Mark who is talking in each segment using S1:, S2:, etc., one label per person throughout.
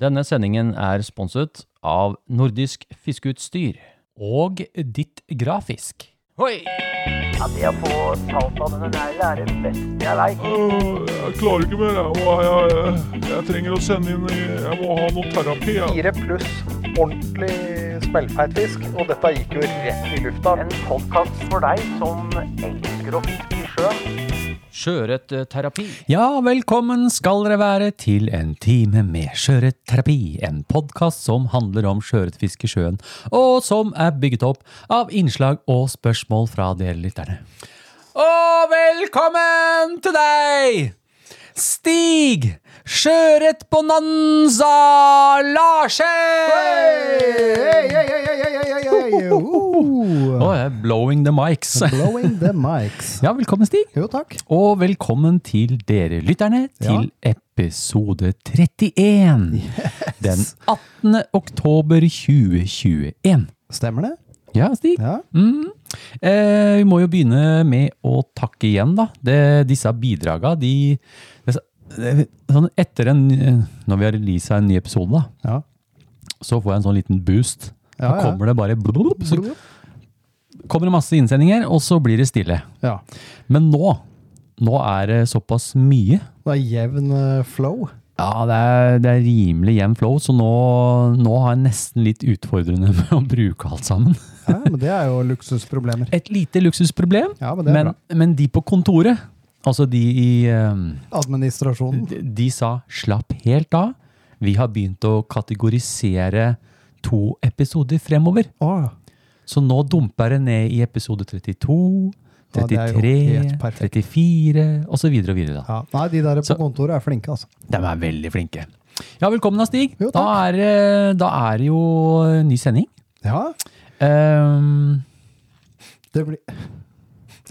S1: Denne sendingen er sponset av Nordisk Fiskeutstyr.
S2: Og ditt grafisk.
S1: Hoi!
S3: Ja, det å få talt av denne neglen er det beste jeg veit.
S4: Øh, Jeg klarer ikke mer. Jeg, må, jeg, jeg, jeg trenger å sende inn Jeg må ha noe terapi. Jeg.
S5: Fire pluss ordentlig smellfeit fisk, og dette gikk jo rett i lufta.
S3: En podkast for deg som elsker å fiske i sjøen.
S2: eh,
S1: Sjøørretterapi.
S2: Ja, velkommen skal dere være til en time med Sjøørretterapi. En podkast som handler om sjøørretfiske i sjøen, og som er bygget opp av innslag og spørsmål fra dere lytterne. Og velkommen til deg! Stig Sjøørretbonanza Larsen!
S6: Hey, hey, hey, hey, hey, hey, hey.
S2: Å,
S6: Woohoo!
S2: jeg er blowing the mics.
S6: Blowing the mics.
S2: Ja, velkommen, Stig.
S6: Jo, takk.
S2: Og velkommen til dere lytterne til episode 31. Den 18. oktober 2021.
S6: Stemmer det?
S2: Ja, Stig.
S6: Ja.
S2: Mm. Eh, vi må jo begynne med å takke igjen, da. Det, disse bidraga, de det, det, Sånn etter en Når vi har releasa en ny episode, da,
S6: Ja.
S2: så får jeg en sånn liten boost. Da
S6: Ja, ja.
S2: kommer det bare blub, Så kommer det masse innsendinger, og så blir det stille.
S6: ja.
S2: Men nå, nå er det såpass mye
S6: Det er jevn eh, flow.
S2: Ja, det er, det er rimelig jevn flow, så nå, nå har jeg nesten litt utfordrende med å bruke alt sammen.
S6: Ja, men det er jo luksusproblemer.
S2: Et lite luksusproblem,
S6: Ja, men det er
S2: men, men de på kontoret, altså de i ehm,
S6: Administrasjonen.
S2: de, de sa slapp helt av. Vi har begynt å kategorisere to episoder fremover.
S6: Åh,
S2: Så nå dumper det ned i episode 32,
S6: Ja, det er jo
S2: 33,
S6: helt perfekt.
S2: 34 osv. videre da.
S6: ja. Nei, de der på
S2: Så-
S6: kontoret er flinke, altså.
S2: De er veldig flinke. Ja, velkommen da, Stig.
S6: Jo, takk.
S2: da, er, det- da er det jo eh, ny sending. Eh,
S6: Ja,
S2: Ehm,
S6: det blir...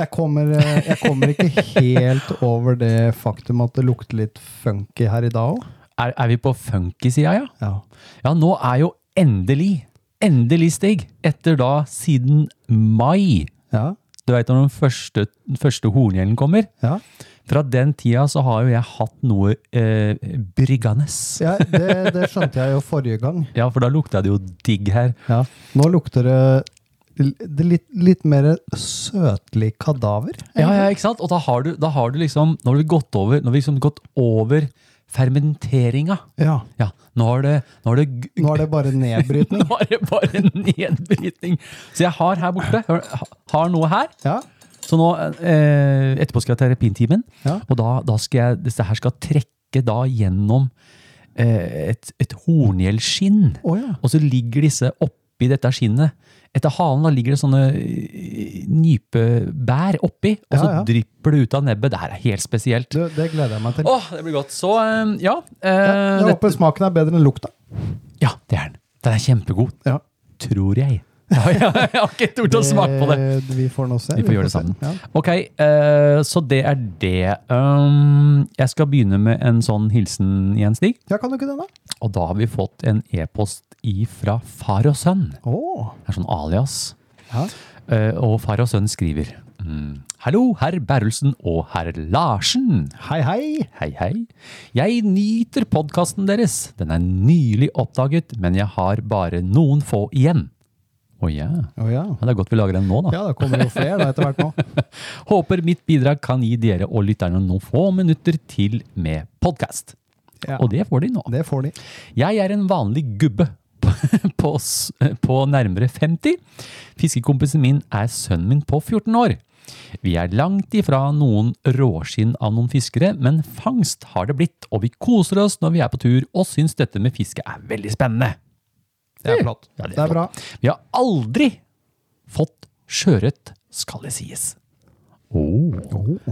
S6: Jeg kommer, eh, jeg kommer ikke helt over det faktum at det lukter litt funky her i dag òg.
S2: er, er vi på funky-sida, ja?
S6: Ja.
S2: Ja, nå er jo endelig, endelig, Stig, etter da siden mai
S6: Ja.
S2: Du veit når den første, den første horngjelden kommer?
S6: ja.
S2: Fra den tida så har jo jeg hatt noe eh, bryggende. Ja.
S6: ja det, det skjønte jeg jo forrige gang.
S2: for da lukta det jo digg her.
S6: Ja. Nå lukter det, det litt, litt mer søtlig kadaver.
S2: Ja, ja, ikke sant? Og da har du, da har du liksom Nå har vi gått over, nå har vi liksom gått over fermenteringa.
S6: Ja.
S2: Ja, nå har det, nå har det g-
S6: Nå er det bare nedbrytning.
S2: Nå er det bare nedbrytning. Så jeg har her borte, har- har noe her.
S6: Ja.
S2: Så nå, eh, etterpå skal jeg til repintimen,
S6: Ja.
S2: og da, da skal jeg, disse her skal trekke da gjennom eh, et, et horngjellskinn.
S6: Å ja.
S2: Og så ligger disse oppi dette skinnet. Etter halen da ligger det sånne eh, nypebær oppi, og så
S6: Ja, ja.
S2: drypper det ut av nebbet. Det her er helt spesielt.
S6: Du, det gleder jeg meg til.
S2: Åh, det blir godt. Så, eh, ja.
S6: Ja,
S2: Eh,
S6: jeg
S2: det,
S6: håper smaken er bedre enn lukta.
S2: ja, det er den. Den er kjempegod,
S6: Ja.
S2: tror jeg. Ja, jeg, jeg har ikke tort å smake på det.
S6: Eh, Vi får nå se.
S2: Vi får gjøre det
S6: se.
S2: sammen.
S6: Ja.
S2: Ok, eh, så det er det. Um, jeg skal begynne med en sånn hilsen igjen, Stig.
S6: ja, kan du ikke den, da?
S2: Og da har vi fått en e-post ifra far og sønn.
S6: Å.
S2: Det er sånn alias.
S6: Ja.
S2: Eh, og far og sønn skriver. Mm. Hallo, herr Berrelsen og herr Larsen.
S6: Hei, hei.
S2: Hei, hei. Jeg nyter podkasten deres. Den er nylig oppdaget, men jeg har bare noen få igjen. Å ja.
S6: Å ja.
S2: ja. Det er godt vi lager den nå, da.
S6: Ja, det kommer jo flere da etter hvert nå.
S2: Håper mitt bidrag kan gi dere og lytterne noen få minutter til med podkast.
S6: Ja.
S2: Og det får de nå.
S6: Det får de.
S2: Jeg er en vanlig gubbe på, s- på nærmere 50. Fiskekompisen min er sønnen min på 14 år. Vi er langt ifra noen råskinn av noen fiskere, men fangst har det blitt, og vi koser oss når vi er på tur og syns dette med fiske er veldig spennende.
S6: Det er flott.
S2: Ja, det er
S6: det, er bra.
S2: Vi har aldri fått sjøørret, skal det sies. Oh,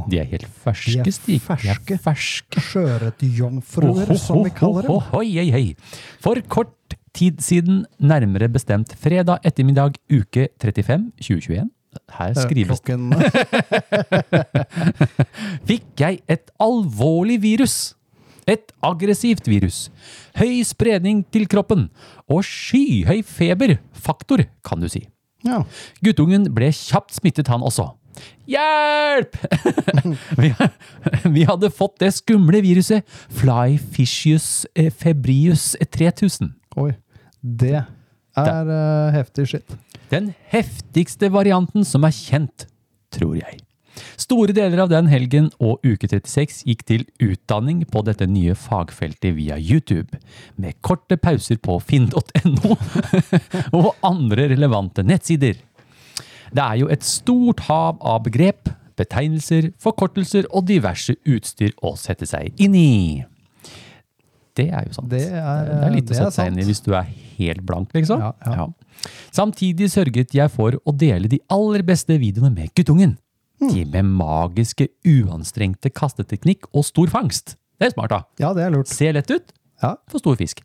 S2: De er helt ferske,
S6: De er
S2: Stig. De
S6: ferske.
S2: er ferske.
S6: Sjøørretjomfruer, som vi kaller dem.
S2: Ohoi, hei, hei. For kort tid siden, nærmere bestemt fredag ettermiddag uke 35 2021, her skrives det,
S6: Klokken
S2: fikk jeg et alvorlig virus. Et aggressivt virus. Høy spredning til kroppen. Og skyhøy feberfaktor, kan du si.
S6: Ja.
S2: Guttungen ble kjapt smittet han også. Hjelp! vi, vi hadde fått det skumle viruset Flyfishius febrius eh, 3000.
S6: Oi. Det er eh, heftig shit.
S2: Den heftigste varianten som er kjent, tror jeg. Store deler av den helgen og uke 36 gikk til utdanning på dette nye fagfeltet via YouTube, med korte pauser på finn.no og andre relevante nettsider. Det er jo et stort hav av begrep, betegnelser, forkortelser og diverse utstyr å sette seg inn i. Det er jo sant.
S6: Det er,
S2: det er litt
S6: det
S2: å
S6: er
S2: sette seg inn i
S6: sant.
S2: hvis du er helt blank, liksom.
S6: Ja, ja.
S2: Samtidig sørget jeg for å dele de aller beste videoene med guttungen.
S6: Hmm.
S2: De med magiske, uanstrengte kasteteknikk og stor fangst. Det er smart, da.
S6: Ja, det er lurt.
S2: Ser lett ut,
S6: Ja.
S2: for stor fisk.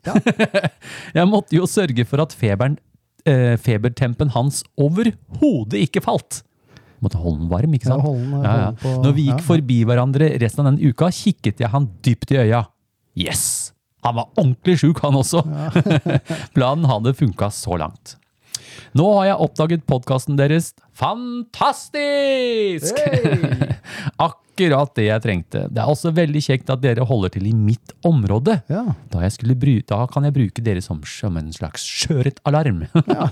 S2: jeg måtte jo sørge for at feberen, eh, febertempen hans overhodet ikke falt. Måtte holde den varm, ikke
S6: Ja,
S2: sant?
S6: holde den-
S2: ja, ja.
S6: holde den på-
S2: Når vi gikk
S6: ja, ja.
S2: forbi hverandre resten av den uka, kikket jeg han dypt i øya. Yes! Han var ordentlig sjuk, han også. Planen hadde funka så langt. Nå har jeg oppdaget podkasten deres. Fantastisk! Akkurat det jeg trengte. Det er også veldig kjekt at dere holder til i mitt område.
S6: Ja.
S2: Da, jeg skulle bry, da kan jeg bruke dere som, som en slags skjøretalarm.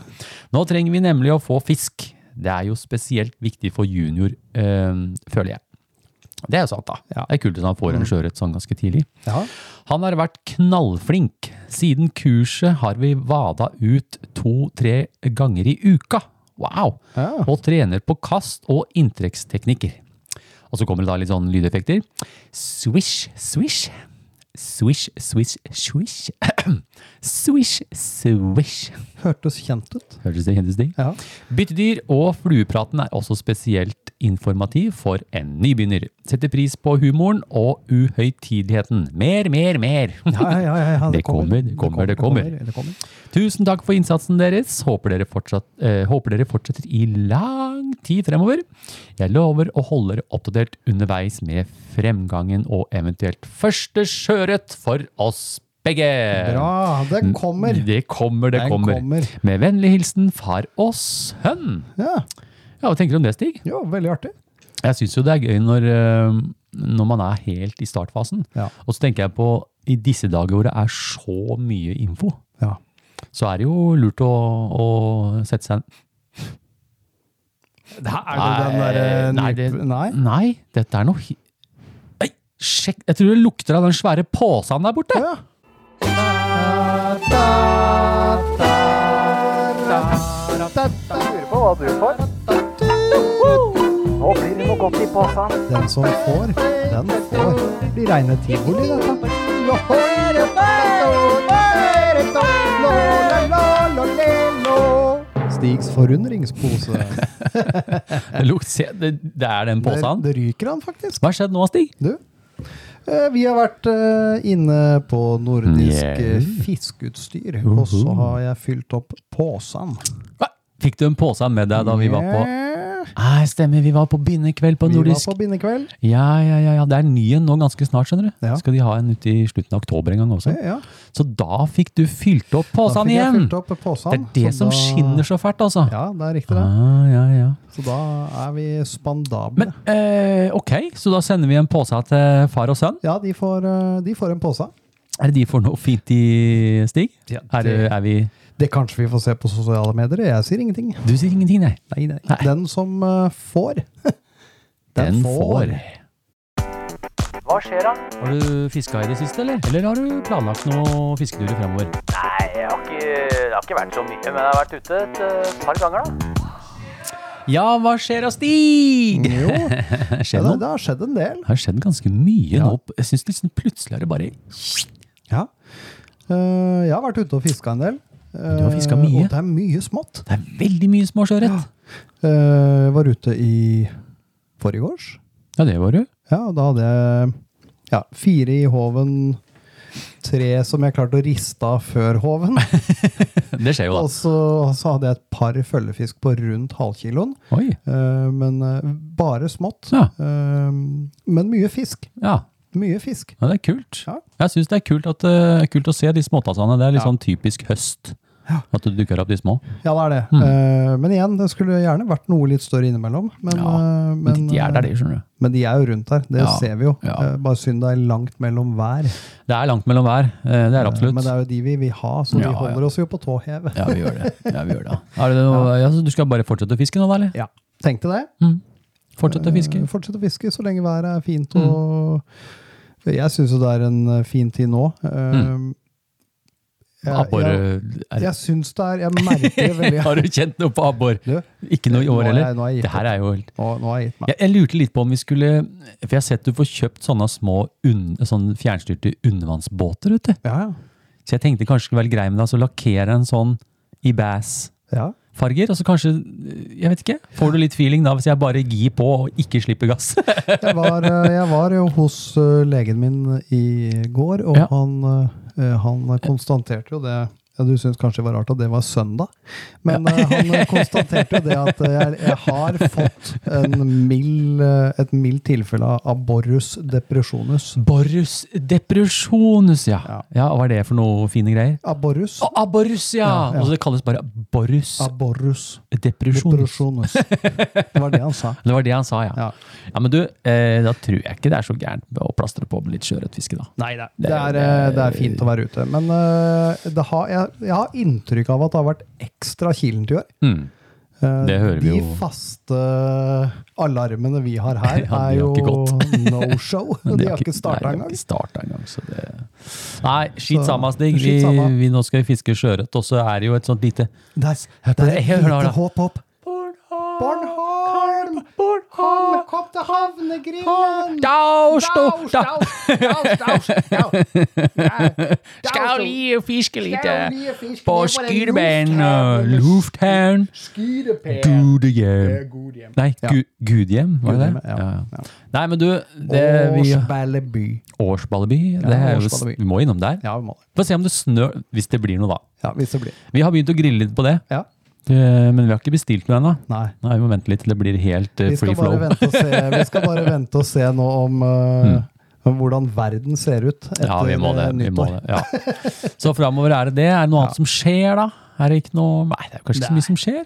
S2: Nå trenger vi nemlig å få fisk. Det er jo spesielt viktig for junior, øhm, føler jeg. Det er jo sant, da. Det er kult at han får en skjøret sånn ganske tidlig.
S6: Ja.
S2: Han har vært knallflink. Siden kurset har vi vada ut to-tre ganger i uka. Wow!
S6: Ja.
S2: Og trener på kast og inntrekksteknikker. Og så kommer det da litt sånn lydeffekter. Swish, swish. Swish, swish, swish. swish, swish.
S6: Hørtes kjent ut.
S2: Hørtes det kjentes ut?
S6: Ja.
S2: Byttedyr og fluepraten er også spesielt informativ for en nybegynner. Setter pris på humoren og uhøytideligheten. Mer, mer, mer!
S6: Ja, ja, ja, ja,
S2: Det kommer, det kommer, det kommer.
S6: det kommer.
S2: Tusen takk for innsatsen deres. Håper dere, fortsatt, eh, håper dere fortsetter i lang tid fremover. Jeg lover å holde dere oppdatert underveis med fremgangen og eventuelt første sjøørret for oss begge.
S6: Bra, det kommer.
S2: Eh, Det kommer, det
S6: Den
S2: kommer.
S6: kommer.
S2: Med vennlig hilsen far og sønn.
S6: Ja,
S2: Ja, Hva tenker du om det, Stig?
S6: jo, veldig artig.
S2: Jeg syns jo det er gøy når, eh, når man er helt i startfasen.
S6: Ja.
S2: Og så tenker jeg på i disse dager hvor det er så mye info
S6: Ja.
S2: så er det jo lurt å, å sette seg
S6: Er det den der, eh,
S2: nei, det-
S6: nyp- nei?
S2: Nei, dette er noe hi- Oi, Sjekk, jeg tror det lukter av den svære posen der borte.
S6: Ja.
S5: Jeg lurer på hva du får. Nå blir det noe godt i posen.
S6: Den som får, den får. Det blir reine tivoli, dette. Stigs forundringspose.
S2: Det, lukter, se, det, det er den posen.
S6: Det ryker han faktisk.
S2: Hva har skjedd nå, Stig?
S6: Du, eh, vi har vært eh, inne på nordisk eh,
S2: Yeah.
S6: fiskeutstyr, og så har jeg fylt opp posen.
S2: Hva? Fikk du en pose med deg da vi var på
S6: Eh,
S2: Nei, Stemmer, vi var på bindekveld på
S6: Vi var
S2: Nordisk.
S6: på bindekveld.
S2: Ja, ja, ja, ja. Det er en ny en nå ganske snart, skjønner du.
S6: Ja.
S2: Skal de ha en ut i slutten av oktober en gang også.
S6: Eh, Ja.
S2: Så da fikk du fylt opp
S6: Da
S2: posen
S6: fikk jeg
S2: igjen.
S6: fylt opp
S2: Det
S6: posen,
S2: er det
S6: så
S2: som
S6: da-
S2: skinner så fælt, altså.
S6: Ja, det er riktig, det.
S2: Ah, ja, ja.
S6: Så da er vi spandable.
S2: Men eh, ok, så da sender vi en pose til far og sønn.
S6: ja, de får, eh, de får en pose.
S2: Er det de får noe fint i Stig?
S6: Ja,
S2: er,
S6: det-
S2: er vi
S6: Det kanskje vi får se på sosiale medier. Jeg sier ingenting.
S2: Du sier ingenting, nei.
S6: Nei, nei.
S2: Nei.
S6: Den som eh, får,
S5: Hva skjer da?
S2: Har du fiska i det siste, eller? Eller har du planlagt noe fisketurer fremover?
S5: Nei, jeg har ikke, det har ikke vært så mye, men jeg har vært ute et eh, par ganger da.
S2: Ja, hva skjer da, Stig?
S6: Jo, ja,
S2: Skjer
S6: det,
S2: noe?
S6: det har skjedd en del.
S2: Det har skjedd ganske mye
S6: Ja.
S2: nå. Jeg syns liksom plutselig er det bare
S6: Ja. Eh, jeg har vært ute og fiska en del.
S2: Du har fisket
S6: Eh,
S2: mye.
S6: Og det er mye smått.
S2: Det er veldig mye små sjøørret.
S6: Eh, Jeg var ute i forgårs.
S2: Ja, det var du.
S6: Ja, og da hadde jeg ja, fire i håven, tre som jeg klarte å riste av før håven.
S2: Det skjer jo,
S6: Og
S2: da.
S6: så, så hadde jeg et par følgefisk på rundt halvkiloen.
S2: Oi.
S6: Eh, men eh, bare smått.
S2: Ja.
S6: Eh, men mye fisk.
S2: Ja.
S6: Mye fisk.
S2: Ja, det er kult.
S6: Ja.
S2: Jeg syns det er kult, at, eh, kult å se de småtassene. Det er litt
S6: Ja.
S2: sånn typisk høst. At det dukker opp de små.
S6: Ja, det er det.
S2: Hmm.
S6: Eh, men igjen, det skulle gjerne vært noe litt større innimellom. Men,
S2: Ja,
S6: eh,
S2: Men de er der, de, skjønner du.
S6: Men de er jo rundt her, det
S2: Ja,
S6: ser vi jo.
S2: ja.
S6: Eh, Bare synd det er langt mellom hver.
S2: Det er langt mellom hver. eh, Det er absolutt.
S6: Men det er jo de vi vil ha, så
S2: Ja,
S6: de
S2: ja.
S6: holder oss jo på tå hev.
S2: Ja, vi gjør det. Ja, vi gjør det. Er det noe, ja, så du skal bare fortsette å fiske nå, da? eller?
S6: Ja. Tenkte det.
S2: Mm. Fortsette å fiske? Mm.
S6: Eh, Fortsett å fiske så lenge været er fint. Og jeg syns jo det er en eh, fin tid nå. Eh,
S2: Mm.
S6: Jeg,
S2: Abbor
S6: jeg,
S2: er-
S6: jeg syns det er Jeg merker det veldig.
S2: Har du kjent noe på abbor?
S6: Du,
S2: Ikke noe i
S6: nå
S2: år
S6: har jeg- nå
S2: heller?
S6: har jeg gitt
S2: Det her er jo helt
S6: Nå, nå har jeg gitt meg.
S2: jeg, jeg lurte litt på om vi skulle For jeg har sett du får kjøpt sånne små unn, sånn fjernstyrte undervannsbåter, vet du.
S6: Ja,
S2: Så jeg tenkte kanskje det skulle være grei med deg å lakkere en sånn i bass-farger.
S6: ja.
S2: Og så kanskje, jeg vet ikke, får du litt feeling da hvis jeg bare gir på og ikke slipper gass?
S6: Jeg var, eh, jeg var jo hos eh, legen min i går, og
S2: Ja.
S6: han, eh, han konstaterte jo det ja, Du syns kanskje det var rart at det var søndag, men eh, han konstaterte jo det at eh, jeg, jeg har fått en mild, eh, et mildt tilfelle av aborrus depresjonus.
S2: Borrus depresjonus, ja. ja.
S6: Ja.
S2: Hva er det for noe fine greier?
S6: Aborrus.
S2: Å, aborrus, ja!
S6: Ja, ja.
S2: Og så det kalles bare borrus
S6: Aborrus
S2: depresjonus.
S6: depresjonus. Det var det han sa.
S2: Det var det han sa, ja. ja.
S6: Ja.
S2: Men du, eh, da tror jeg ikke det er så gærent å plastre på litt sjøørretfiske, da.
S6: Nei da. Det er, eh, det er fint å være ute. Men eh, det har, jeg, jeg har inntrykk av at det har vært ekstra kilent i år.
S2: Mm.
S6: Eh,
S2: Det hører vi
S6: de
S2: jo.
S6: faste alarmene vi har her,
S2: Ja, de har
S6: er jo
S2: ikke gått.
S6: no show.
S2: Men
S6: De har ikke starta
S2: nei, de har
S6: engang.
S2: ikke startet engang, så det... Nei, skit
S6: Så-
S2: samme, Stig. Vi,
S6: Skit samma.
S2: vi nå skal vi fiske sjøørret, og så er det jo et sånt lite
S6: Det er, det
S2: Hør,
S6: er et
S2: hør, hør,
S6: lite
S2: da.
S6: håp opp. Bornholm! Kom, kom til havnegrillen!
S2: Daus,
S6: Daus,
S2: da-
S6: daus, daus, daus, daus.
S2: Skal lige fiske litt
S6: Skal
S2: eh,
S6: lige fiske
S2: på
S6: ned på eh, den
S2: Skydebanen og
S6: lufthavnen.
S2: Lufthavn.
S6: Skyrepen.
S2: Gudehjem. Nei, Gu Gudhjem, var det det?
S6: Gudhjem, ja.
S2: Nei, men du, det, vi,
S6: Årsballeby.
S2: Årsballeby. det er, jo-
S6: Årsballeby.
S2: Vi må innom der.
S6: Ja, vi må det.
S2: Få se om det snør, hvis det blir noe, da.
S6: Ja, hvis det blir.
S2: Vi har begynt å grille litt på det,
S6: Ja.
S2: eh, men vi har ikke bestilt noe ennå.
S6: Nei.
S2: Nei, Vi må vente litt til det blir helt eh,
S6: Vi skal,
S2: free
S6: bare
S2: flow.
S6: vente og se, vi skal bare vente og se nå om eh, om hvordan verden ser ut etter
S2: Mm. Ja, vi må det.
S6: eh,
S2: Vi må
S6: nyttår.
S2: det ja. Så framover er det det. Er det noe annet som skjer, da? Er det ikke noe Nei, det er kanskje ikke så mye som skjer?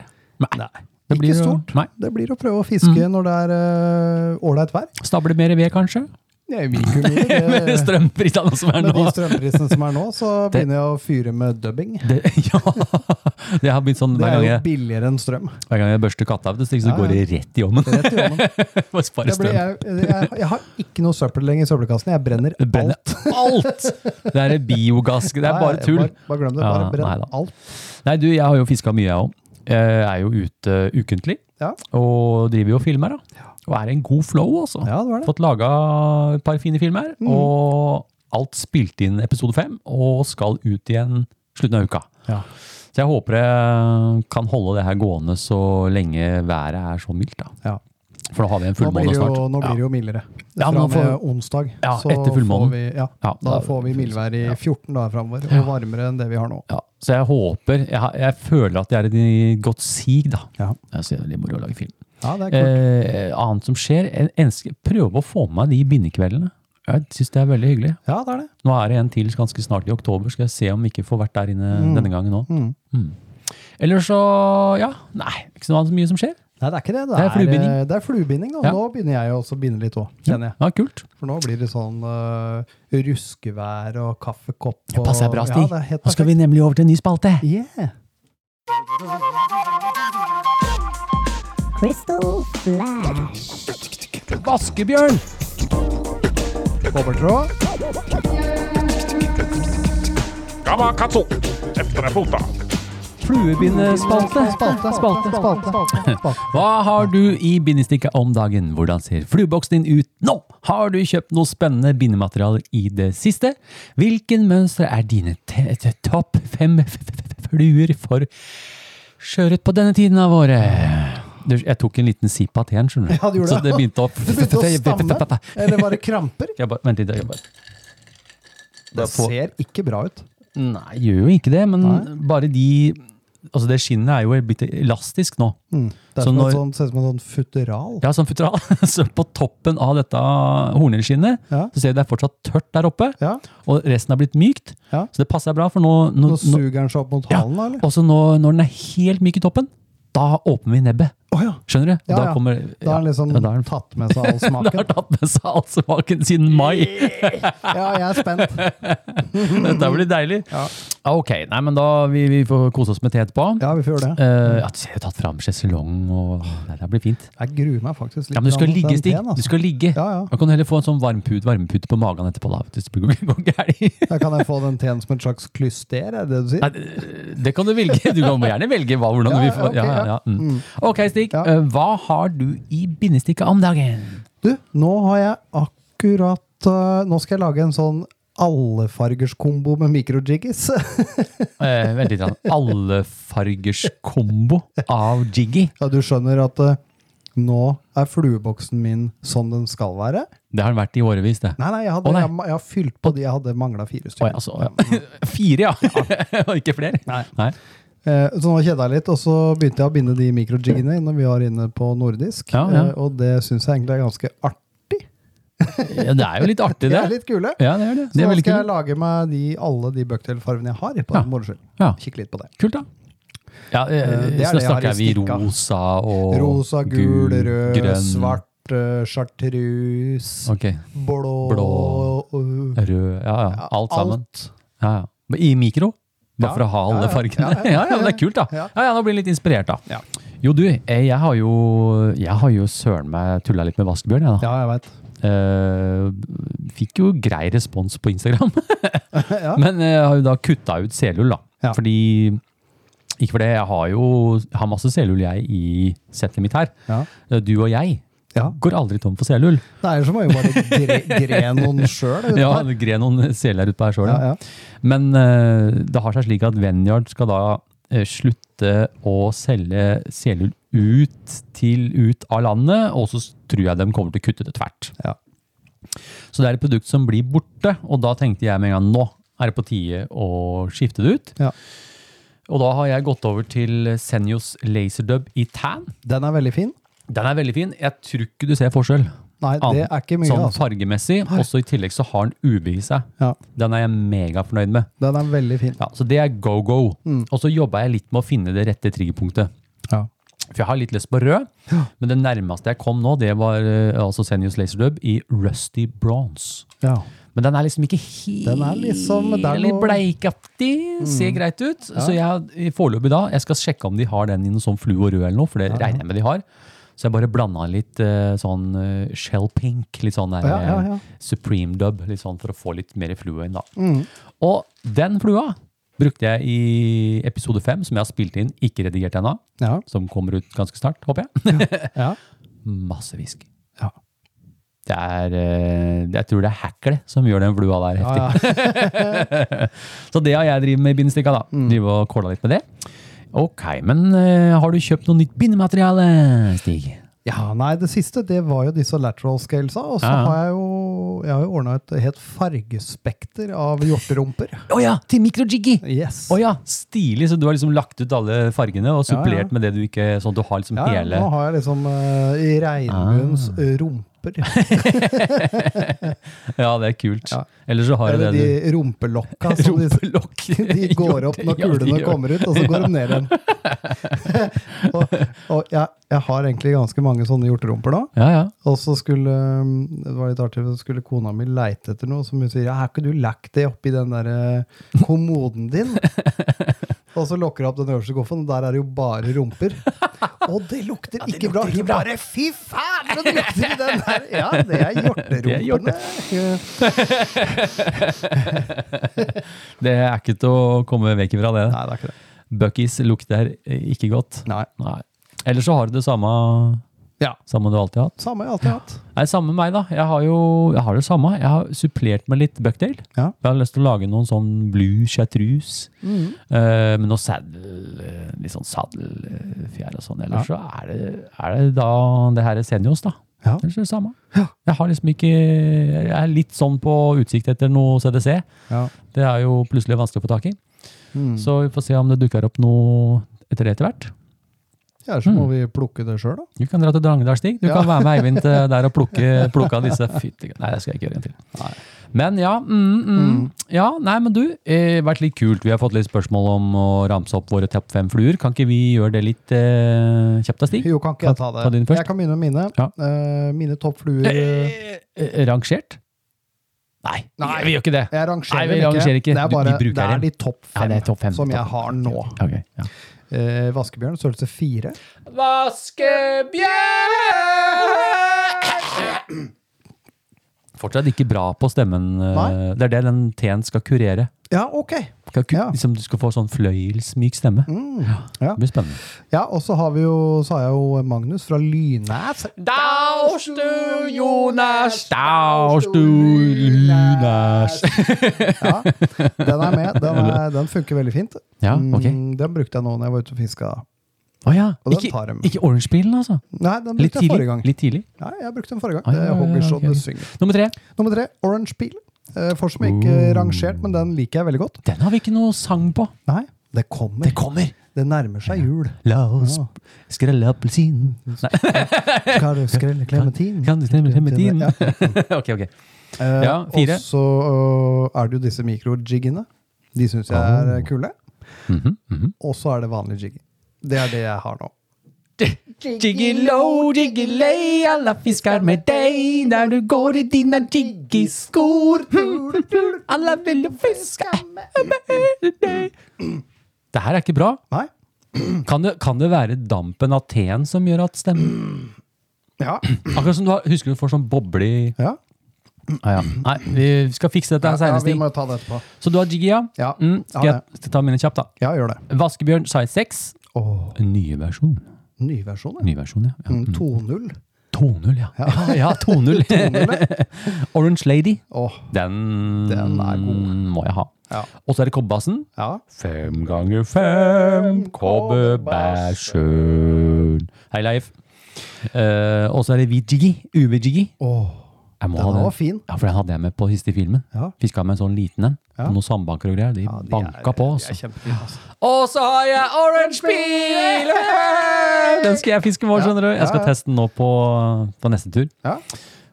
S2: Nei. Det blir
S6: Ikke
S2: jo-
S6: stort.
S2: Nei.
S6: Det blir å prøve å fiske
S2: Mm.
S6: når det er eh, ålreit vær.
S2: Stable mer ved, kanskje?
S6: Jeg vil ikke mye.
S2: Med
S6: Det,
S2: strømprisene som er
S6: Eh, med de
S2: nå.
S6: strømprisene som er nå, så begynner jeg å fyre med dubbing.
S2: Det, ja. det har blitt sånn
S6: Det
S2: hver
S6: er
S2: gang
S6: jo
S2: jeg,
S6: billigere enn strøm.
S2: hver gang jeg børster katta, vet du, Stig, så
S6: Ja, ja.
S2: går det rett i ovnen.
S6: Rett i ovnen.
S2: Bare sparer
S6: Jeg,
S2: strøm.
S6: blir, jeg, jeg, jeg har ikke noe søppel lenger i søppelkassen. Jeg brenner
S2: Det brenner
S6: alt.
S2: alt! Det er biogass, det er
S6: Nei,
S2: bare tull.
S6: Bare, bare glem det.
S2: Ja,
S6: Bare
S2: nei
S6: brenn
S2: da.
S6: alt.
S2: Nei, du, jeg har jo fiska mye, jeg òg. Jeg er jo ute eh, ukentlig,
S6: Ja.
S2: og driver jo og filmer, da. Og er i en god flow, altså.
S6: Ja, Mm. det var det.
S2: Fått laga et par fine filmer, og alt spilt inn episode fem, og skal ut igjen slutten av uka.
S6: Ja.
S2: Så jeg håper jeg kan holde det her gående så lenge været er så mildt, da.
S6: Ja.
S2: For nå har vi en
S6: Nå blir
S2: fullmåne
S6: det jo,
S2: snart.
S6: nå blir det jo mildere.
S2: Ja,
S6: Fra
S2: men nå
S6: og med
S2: får-
S6: onsdag.
S2: Ja,
S6: så
S2: etter fullmånen.
S6: får vi- Ja,
S2: Ja,
S6: da,
S2: da-
S6: får vi mildvær i 14 dager framover, og varmere enn det vi har nå.
S2: Ja, så jeg håper jeg, har- jeg føler at jeg er i et godt sig, da.
S6: Ja,
S2: Jeg ser det er litt moro å lage film.
S6: ja det er kult.
S2: Eh, annet som skjer, jeg ønsker- prøve å få med meg de bindekveldene. Jeg syns det er veldig hyggelig.
S6: Ja, det er det.
S2: Nå er det en til ganske snart i oktober, skal jeg se om vi ikke får vært der inne denne gangen òg.
S6: Mm.
S2: Eller så, ja, nei, ikke så mye som skjer.
S6: Nei, det er ikke det. Det
S2: Det er
S6: er,
S2: fluebinding.
S6: eh, Det er fluebinding, og
S2: Ja.
S6: nå begynner jeg også å binde litt òg, kjenner jeg.
S2: Ja, kult.
S6: For nå blir det sånn eh, ruskevær og kaffekopp. Og,
S2: Passer bra, Stig.
S6: Ja, det er helt
S2: Nå skal vi nemlig over til en ny spalte.
S6: perfekt. Yeah.
S7: Crystal Flash.
S2: Vaskebjørn!
S6: Kobbertråd.
S4: Gamma katso! Efter er fota.
S2: Fluebindespalte.
S6: Spalte, spalte, spalte. spalte, spalte.
S2: Hva har du i bindestikket om dagen? Hvordan ser flueboksen din ut nå? Har du kjøpt noe spennende bindematerialer i det siste? Hvilken mønster er dine te- te- topp fem f- f- f- fluer for sjøørret på denne tiden av året? Du, Jeg tok en liten sipp av teen, skjønner du.
S6: Ja, du gjorde
S2: Så det begynte å
S6: Du begynte å stamme, eller var det kramper?
S2: Jeg bare, vent litt, jeg bare.
S6: Det ser ikke bra ut.
S2: Nei, gjør jo ikke det, men bare de altså det skinnet er jo blitt elastisk nå.
S6: Mm. Det er
S2: Så
S6: som
S2: når-
S6: et sånt, ser ut som en sånn futteral.
S2: Ja, sånn futteral. Så på toppen av dette hornhinneskinnet
S6: Ja.
S2: så ser vi det er fortsatt tørt der oppe,
S6: Ja.
S2: og resten har blitt mykt.
S6: Ja.
S2: Så det passer bra, for nå, nå,
S6: Nå
S2: nå,
S6: suger den seg opp mot
S2: Ja.
S6: halen, da, eller?
S2: også nå, når den er helt myk i toppen, da åpner vi nebbet.
S6: Å ja.
S2: Skjønner du?
S6: Ja,
S2: da
S6: ja.
S2: kommer
S6: Da har den liksom
S2: ja, da er den-
S6: tatt med seg all
S2: Da har
S6: smaken.
S2: den tatt med seg all smaken siden mai.
S6: Ja, jeg er spent.
S2: Dette blir deilig.
S6: Mm. Ja.
S2: Ok, nei, men da vi, vi får kose oss med te etterpå.
S6: Ja, vi får gjøre det.
S2: Eh, ja, du ser jo tatt fram sjeselong og Nei, Det blir fint.
S6: Jeg gruer meg faktisk litt.
S2: Ja, men du skal
S6: grann til
S2: ligge,
S6: den
S2: Stig.
S6: teen, altså.
S2: Du skal ligge.
S6: Ja, ja.
S2: Da kan du heller få en sånn varmpute varmpute på magen etterpå. da. vet du, så blir Det går gærent.
S6: Da kan jeg få den teen som et slags klyster, er det det du
S2: Nei,
S6: sier?
S2: det- Det kan du velge. Du kan gjerne velge hva, hvordan
S6: Ja,
S2: du vil få.
S6: ok,
S2: Ja, ja, ja.
S6: ja.
S2: Mm. Ok, Stig.
S6: Ja.
S2: eh, Hva har du i bindestikket om dagen?
S6: Du, nå har jeg akkurat eh, Nå skal jeg lage en sånn allefargerskombo med mikrojiggies.
S2: Eh, vent litt. grann. Allefargers kombo av Jiggy.
S6: ja, du skjønner at eh, nå er flueboksen min sånn den skal være.
S2: Det har den vært i årevis, det.
S6: Nei, nei, jeg, hadde,
S2: Å, nei.
S6: Jeg, jeg har fylt på de jeg hadde mangla fire
S2: Oi,
S6: stykker.
S2: altså, ja. Fire, ja! Og ikke flere? Nei.
S6: Eh, Så nå kjeda jeg litt, og så begynte jeg å binde de mikrojiggene når vi var inne på nordisk.
S2: Ja, ja.
S6: Eh, Og det syns jeg egentlig er ganske artig.
S2: Ja, Det er jo litt artig,
S6: De
S2: det.
S6: er litt kule.
S2: Ja, det er det.
S6: Så
S2: det er
S6: nå
S2: veldig
S6: skal jeg
S2: kult.
S6: lage meg de, alle de bucktail-farvene jeg har. på
S2: Ja.
S6: den moro skyld.
S2: Ja.
S6: Kikke litt på det.
S2: kult, da. Ja, eh,
S6: Eh,
S2: så da
S6: det er det jeg har i
S2: snakker vi
S6: stikka.
S2: rosa og
S6: Rosa, gul, rød,
S2: grønn.
S6: svart, eh, chartreuse,
S2: Ok,
S6: blå,
S2: Blå.
S6: øh,
S2: Rød Ja, ja.
S6: ja,
S2: Alt sammen. Ja, ja. Men I mikro? Bare
S6: Ja,
S2: for å ha alle
S6: ja, ja,
S2: fargene?
S6: ja,
S2: Ja,
S6: ja,
S2: ja, men det er kult, da. Ja,
S6: ja.
S2: ja, Nå blir jeg litt inspirert, da.
S6: Ja.
S2: Jo, du, eh, jeg har jo, jeg har jo søren meg tulla litt med vaskebjørn, jeg, da.
S6: Ja, jeg veit.
S2: Eh, fikk jo grei respons på Instagram.
S6: Ja.
S2: Men jeg har jo da kutta ut selull, da.
S6: Ja.
S2: Fordi Ikke fordi jeg har jo har masse selull, jeg, i settet mitt her. Eh,
S6: Ja.
S2: Du og jeg
S6: Ja.
S2: går aldri tom for selull.
S6: Det er så må jeg jo bare gre, gre noen sjøl.
S2: Ja, det gre noen seler ut på her sjøl.
S6: Ja, ja.
S2: Men eh, det har seg slik at Venyard skal da eh, slutte å selge selull ut, til, ut av landet, og så s- tror jeg de kommer til å kutte det tvert.
S6: Ja.
S2: Så det er et produkt som blir borte, og da tenkte jeg med en gang nå er det på tide å skifte det ut.
S6: Ja.
S2: Og da har jeg gått over til Senjos Laserdub i tan.
S6: Den er veldig fin.
S2: Den er veldig fin. Jeg tror ikke du ser forskjell.
S6: Nei, det er ikke mye.
S2: Sånn
S6: altså.
S2: fargemessig. Også i tillegg så har den UV i seg.
S6: Ja,
S2: Den er jeg megafornøyd med.
S6: den er veldig fin.
S2: Ja, så det er go-go.
S6: Mm.
S2: Og så jobba jeg litt med å finne det rette triggerpunktet.
S6: Ja.
S2: For jeg har litt lyst på rød, men det nærmeste jeg kom nå, det var eh, altså Senius Laserdub i Rusty Bronze.
S6: Ja.
S2: Men den er liksom ikke helt
S6: Den er liksom- det er
S2: Litt
S6: noe- Mm.
S2: bleikaktig. Ser greit ut. Så jeg i foreløpig da, jeg skal sjekke om de har den i noe sånn flue og rød eller noe, for det regner jeg med de har. Så jeg bare blanda litt eh, sånn eh, shell pink, litt sånn der,
S6: Ja, ja, ja.
S2: eh, supreme dub, litt sånn for å få litt mer flue inn, da.
S6: Mm.
S2: Og den flua brukte jeg i episode fem, som jeg har spilt inn, ikke redigert ennå.
S6: Ja.
S2: Som kommer ut ganske snart, håper jeg.
S6: Ja.
S2: Masse hvisk.
S6: Ja.
S2: Det er, eh, jeg tror det er hackle som gjør den flua der heftig.
S6: Ja, ja.
S2: Så det har jeg drevet med i bindestikka, da.
S6: Mm.
S2: Driver og kåla litt med det. Ok, men eh, har du kjøpt noe nytt bindemateriale, Stig?
S6: ja, nei, det siste det var jo disse lateral scalesa, og så
S2: Ja, ja.
S6: har jeg jo, jeg har jo ordna et helt fargespekter av hjorterumper.
S2: Å ja, til mikrojiggy!
S6: Yes.
S2: Å ja, stilig! Så du har liksom lagt ut alle fargene og
S6: Ja,
S2: supplert
S6: ja.
S2: med det du ikke Sånn at du har liksom
S6: Ja, ja,
S2: hele Ah.
S6: nå har jeg liksom eh, i regnbuens eh, rumper.
S2: Ja, det er kult.
S6: Ja.
S2: Eller så har du
S6: Eller
S2: det
S6: de
S2: du
S6: rumpelokka som de,
S2: Rumpelokk.
S6: de går opp
S2: Ja,
S6: når
S2: de
S6: kulene
S2: gjør
S6: kommer ut, og så går de ned igjen. og og jeg, jeg har egentlig ganske mange sånne hjorterumper nå.
S2: Ja, ja.
S6: Og så skulle um, det var litt artig, så skulle kona mi leite etter noe, som hun sier ja, 'Har ikke du lagt det oppi den der eh, kommoden din?' og så lokker hun opp den øverste skuffen, og der er det jo bare rumper. Og det lukter ikke bra! Hun bare 'Fy faen, så det lukter i den der!' Ja,
S2: Det
S6: det er
S2: er hjorte.
S6: hjorterumpene.
S2: Det er ikke til å komme vekk ifra, det.
S6: Nei, det er ikke det.
S2: Buckies lukter eh, ikke godt.
S6: Nei.
S2: Nei. Eller så har du det samme,
S6: Ja.
S2: samme du alltid har hatt.
S6: Samme jeg alltid har hatt.
S2: Nei, samme med meg, da. Jeg har jo jeg har det samme. Jeg har supplert med litt bucktail.
S6: Ja.
S2: Jeg har lyst til å lage noen sånn blue chartreuse
S6: Mm.
S2: eh, med noe saddel, eh, litt sånn saddelfjær og sånn. Ellers så er det, er det da det her er seniors, da.
S6: Ja.
S2: Ellers er det samme. Jeg har liksom ikke Jeg er litt sånn på utsikt etter noe CDC.
S6: Ja. Mm.
S2: Det er jo plutselig vanskelig å få tak i. Så vi får se om det dukker opp noe etter det etter hvert.
S6: Ja, så må vi plukke det sjøl, da.
S2: Du kan dra til Drangedalsstig. Du
S6: Ja.
S2: kan være med Eivind til der og plukke, plukke av disse. Fytti Nei, det skal jeg ikke gjøre en til. Men ja, mm, mm, ja, nei, men du, eh, vært litt kult. Vi har fått litt spørsmål om å ramse opp våre topp fem fluer. Kan ikke vi gjøre det litt eh, kjapt da, Stig?
S6: Jo, kan ikke jeg ta det?
S2: Ta din først.
S6: Jeg kan begynne med mine.
S2: Ja.
S6: Eh, mine toppfluer eh,
S2: Eh, eh, rangert? Nei,
S6: Nei.
S2: vi gjør ikke det.
S6: Jeg rangerer,
S2: Nei, vi
S6: dem
S2: rangerer ikke.
S6: Det er
S2: Du-
S6: bare
S2: vi bruker
S6: det er
S2: dem.
S6: de topp
S2: Ja,
S6: fem,
S2: det er topp fem.
S6: som jeg
S2: Topp fem.
S6: har nå.
S2: Ok, ja.
S6: Eh, vaskebjørn, størrelse fire.
S2: Fortsatt ikke bra på stemmen. eh,
S6: Nei.
S2: Det er det den T-en skal kurere.
S6: Ja, ok.
S2: Skal ku
S6: Ja. Mm.
S2: liksom, du skal få sånn fløyelsmyk stemme.
S6: Ja.
S2: Det blir spennende.
S6: Ja, og så har vi jo, så har jeg jo Magnus fra Lynæs.
S2: Daustu, Jonas, daustu, Jonas.
S6: Mm. Ja, den er med. Den, er, den funker veldig fint.
S2: Ja, ok.
S6: Mm, Den brukte jeg nå når jeg var ute og fiska.
S2: Å ja.
S6: Og den
S2: Ikke,
S6: tar dem.
S2: ikke orangebilen, altså.
S6: Nei, den
S2: Litt
S6: brukte jeg
S2: tidlig.
S6: forrige gang.
S2: Litt tidlig.
S6: Ja, jeg brukte den forrige
S2: Ah,
S6: gang. Det
S2: ja, ja,
S6: hogger
S2: ja,
S6: så
S2: ok,
S6: det
S2: ok.
S6: synger.
S2: Nummer tre.
S6: Nummer tre, Orange Peel. Eh, For som jeg ikke eh, rangert, men den liker jeg veldig godt.
S2: Den har vi ikke noe sang på.
S6: Nei, det kommer.
S2: Det kommer.
S6: Det nærmer seg jul.
S2: La oss
S6: Ja.
S2: skrelle appelsinen.
S6: Skal du skrelle klementin?
S2: Kan du stemme stemme din?
S6: Ja.
S2: ok, ok.
S6: Eh,
S2: Ja, fire.
S6: Og så eh, er det jo disse mikrojiggene. De syns jeg er eh, kule.
S2: Oh. Mhm, mhm.
S6: Og så er det vanlig jigging. Det er det jeg har nå.
S2: Jiggelo, jiggelei, alle fisker med deg der du går i dine jiggiskor. Alle vil jo fiske med deg. Det her er ikke bra.
S6: Nei?
S2: Kan det, kan det være dampen av teen som gjør at stemmen
S6: Ja.
S2: Akkurat som du har, Husker du får sånn boble i
S6: ja.
S2: ah, ja. Nei, vi skal fikse dette her
S6: ja
S2: senere,
S6: vi
S2: Stig.
S6: må ta det etterpå.
S2: Så du har jiggy, ja?
S6: Ja,
S2: Mm, skal
S6: jeg har
S2: jeg ta mine kjapt, da?
S6: Ja, gjør det.
S2: Vaskebjørn size 6.
S6: Åh,
S2: Nye versjon.
S6: Nyversjon, ja.
S2: Ny versjon, ja. ja.
S6: Mm, 2.0.
S2: 2.0, ja. Ja, ja 2.0. Orange Lady.
S6: Åh,
S2: Den,
S6: Den er god.
S2: må jeg ha.
S6: Ja.
S2: Og så er det kobberbassen.
S6: ja.
S2: Fem ganger fem, kobberbæsjøn. Hei, Leif. Eh, og så er det hvit jiggy. UV-jiggy.
S6: Åh,
S2: Jeg må
S6: den
S2: ha
S6: var
S2: den.
S6: fin.
S2: Ja, for den hadde jeg med på siste filmen.
S6: Ja.
S2: Fiska med en sånn liten en.
S6: Ja.
S2: Og Noen sandbanker og greier. De,
S6: Ja, de
S2: banka på.
S6: er- de er
S2: Altså.
S6: kjempefine, altså.
S2: Og så har jeg orange peel! Den skal jeg fiske med,
S6: Ja,
S2: skjønner du. Jeg skal
S6: ja, ja.
S2: teste den nå på, på neste tur.
S6: Ja.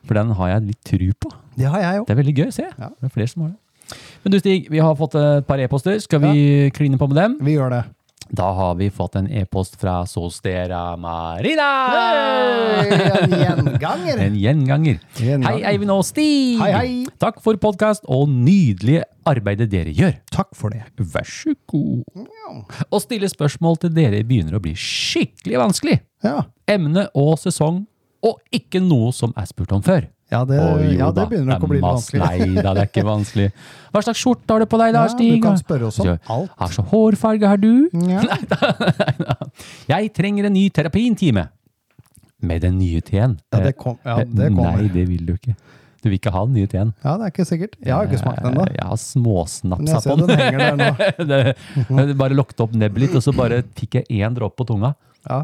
S2: For den har jeg litt tru på.
S6: Det har jeg jo.
S2: Det er veldig gøy å se.
S6: Ja.
S2: Det er flere som har det. Men du Stig, vi har fått et par e-poster. Skal vi kline på med dem?
S6: Vi gjør det.
S2: Da har vi fått en e-post fra Sostera Marina!
S6: en gjenganger.
S2: En gjenganger.
S6: Gjenganger.
S2: Hei, Eivind og Stig!
S6: Hei, hei.
S2: Takk for podkast og nydelige arbeidet dere gjør.
S6: Takk for det.
S2: Vær så god. Å stille spørsmål til dere begynner å bli skikkelig vanskelig.
S6: Ja,
S2: Emne og sesong, og ikke noe som er spurt om før.
S6: ja, det,
S2: Å, jo
S6: Eh, ja, det
S2: da,
S6: begynner nok å bli litt
S2: masse-
S6: vanskelig.
S2: Nei da, det er ikke vanskelig. Hva slags skjorte har du på deg da,
S6: Ja,
S2: Stig?
S6: du kan spørre oss om
S2: Ja,
S6: alt.
S2: Hva slags hårfarge har du?
S6: Ja.
S2: Jeg trenger en ny terapintime. Med den nye teen.
S6: Ja, det kom- ja, det kommer.
S2: Nei, det vil du ikke. Du vil ikke ha den nye teen.
S6: Ja, det er ikke sikkert. Jeg har ikke smakt den ennå.
S2: Jeg har
S6: Men jeg
S2: småsnapsa på
S6: ser den
S2: Eh, den.
S6: henger der nå.
S2: det, jeg bare lokket opp nebbet litt, og så bare fikk jeg én dråpe på tunga.
S6: Ja.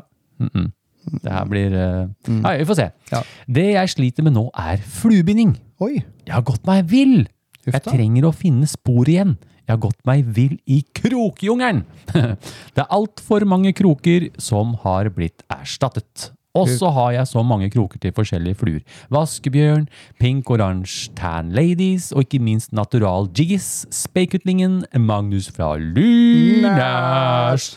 S2: Det her blir eh, Nei, vi får se.
S6: Mm. Ja.
S2: Det jeg sliter med nå, er fluebinding.
S6: Oi.
S2: Jeg har gått meg vill!
S6: Huff
S2: Jeg
S6: da.
S2: trenger å finne spor igjen. Jeg har gått meg vill i krokjungelen! Det er altfor mange kroker som har blitt erstattet. Og så har jeg så mange kroker til forskjellige fluer. Vaskebjørn, pink, oransje, tan ladies, og ikke minst natural jiggis, speikutlingen, Magnus fra Lunæsj,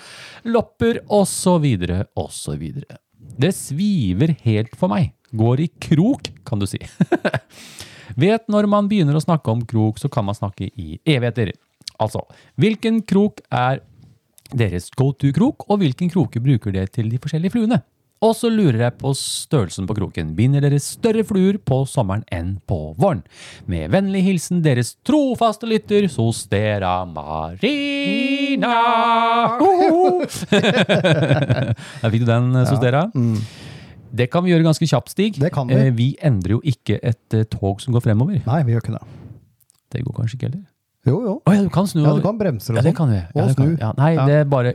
S2: lopper, og så videre, og så videre. Det sviver helt for meg. Går i krok, kan du si. Vet når man begynner å snakke om krok, så kan man snakke i evigheter. Altså, hvilken krok er deres go to-krok, og hvilken kroke bruker dere til de forskjellige fluene? Og så lurer jeg på størrelsen på kroken. Binder dere større fluer på sommeren enn på våren? Med vennlig hilsen deres trofaste lytter, Sostera Marina! Hoho! Der fikk du den, Sostera. Det kan vi gjøre ganske kjapt, Stig.
S6: Mm. Det kan vi.
S2: Eh, vi endrer jo ikke et eh, tog som går fremover.
S6: Nei, vi gjør ikke det.
S2: Det går kanskje ikke heller.
S6: Jo, jo.
S2: Å ja, du kan snu.
S6: Ja, du kan bremse og
S2: Ja, det
S6: sånn.
S2: kan vi. Ja,
S6: Og
S2: det kan vi.
S6: snu.
S2: Ja, nei,
S6: Ja.
S2: det er bare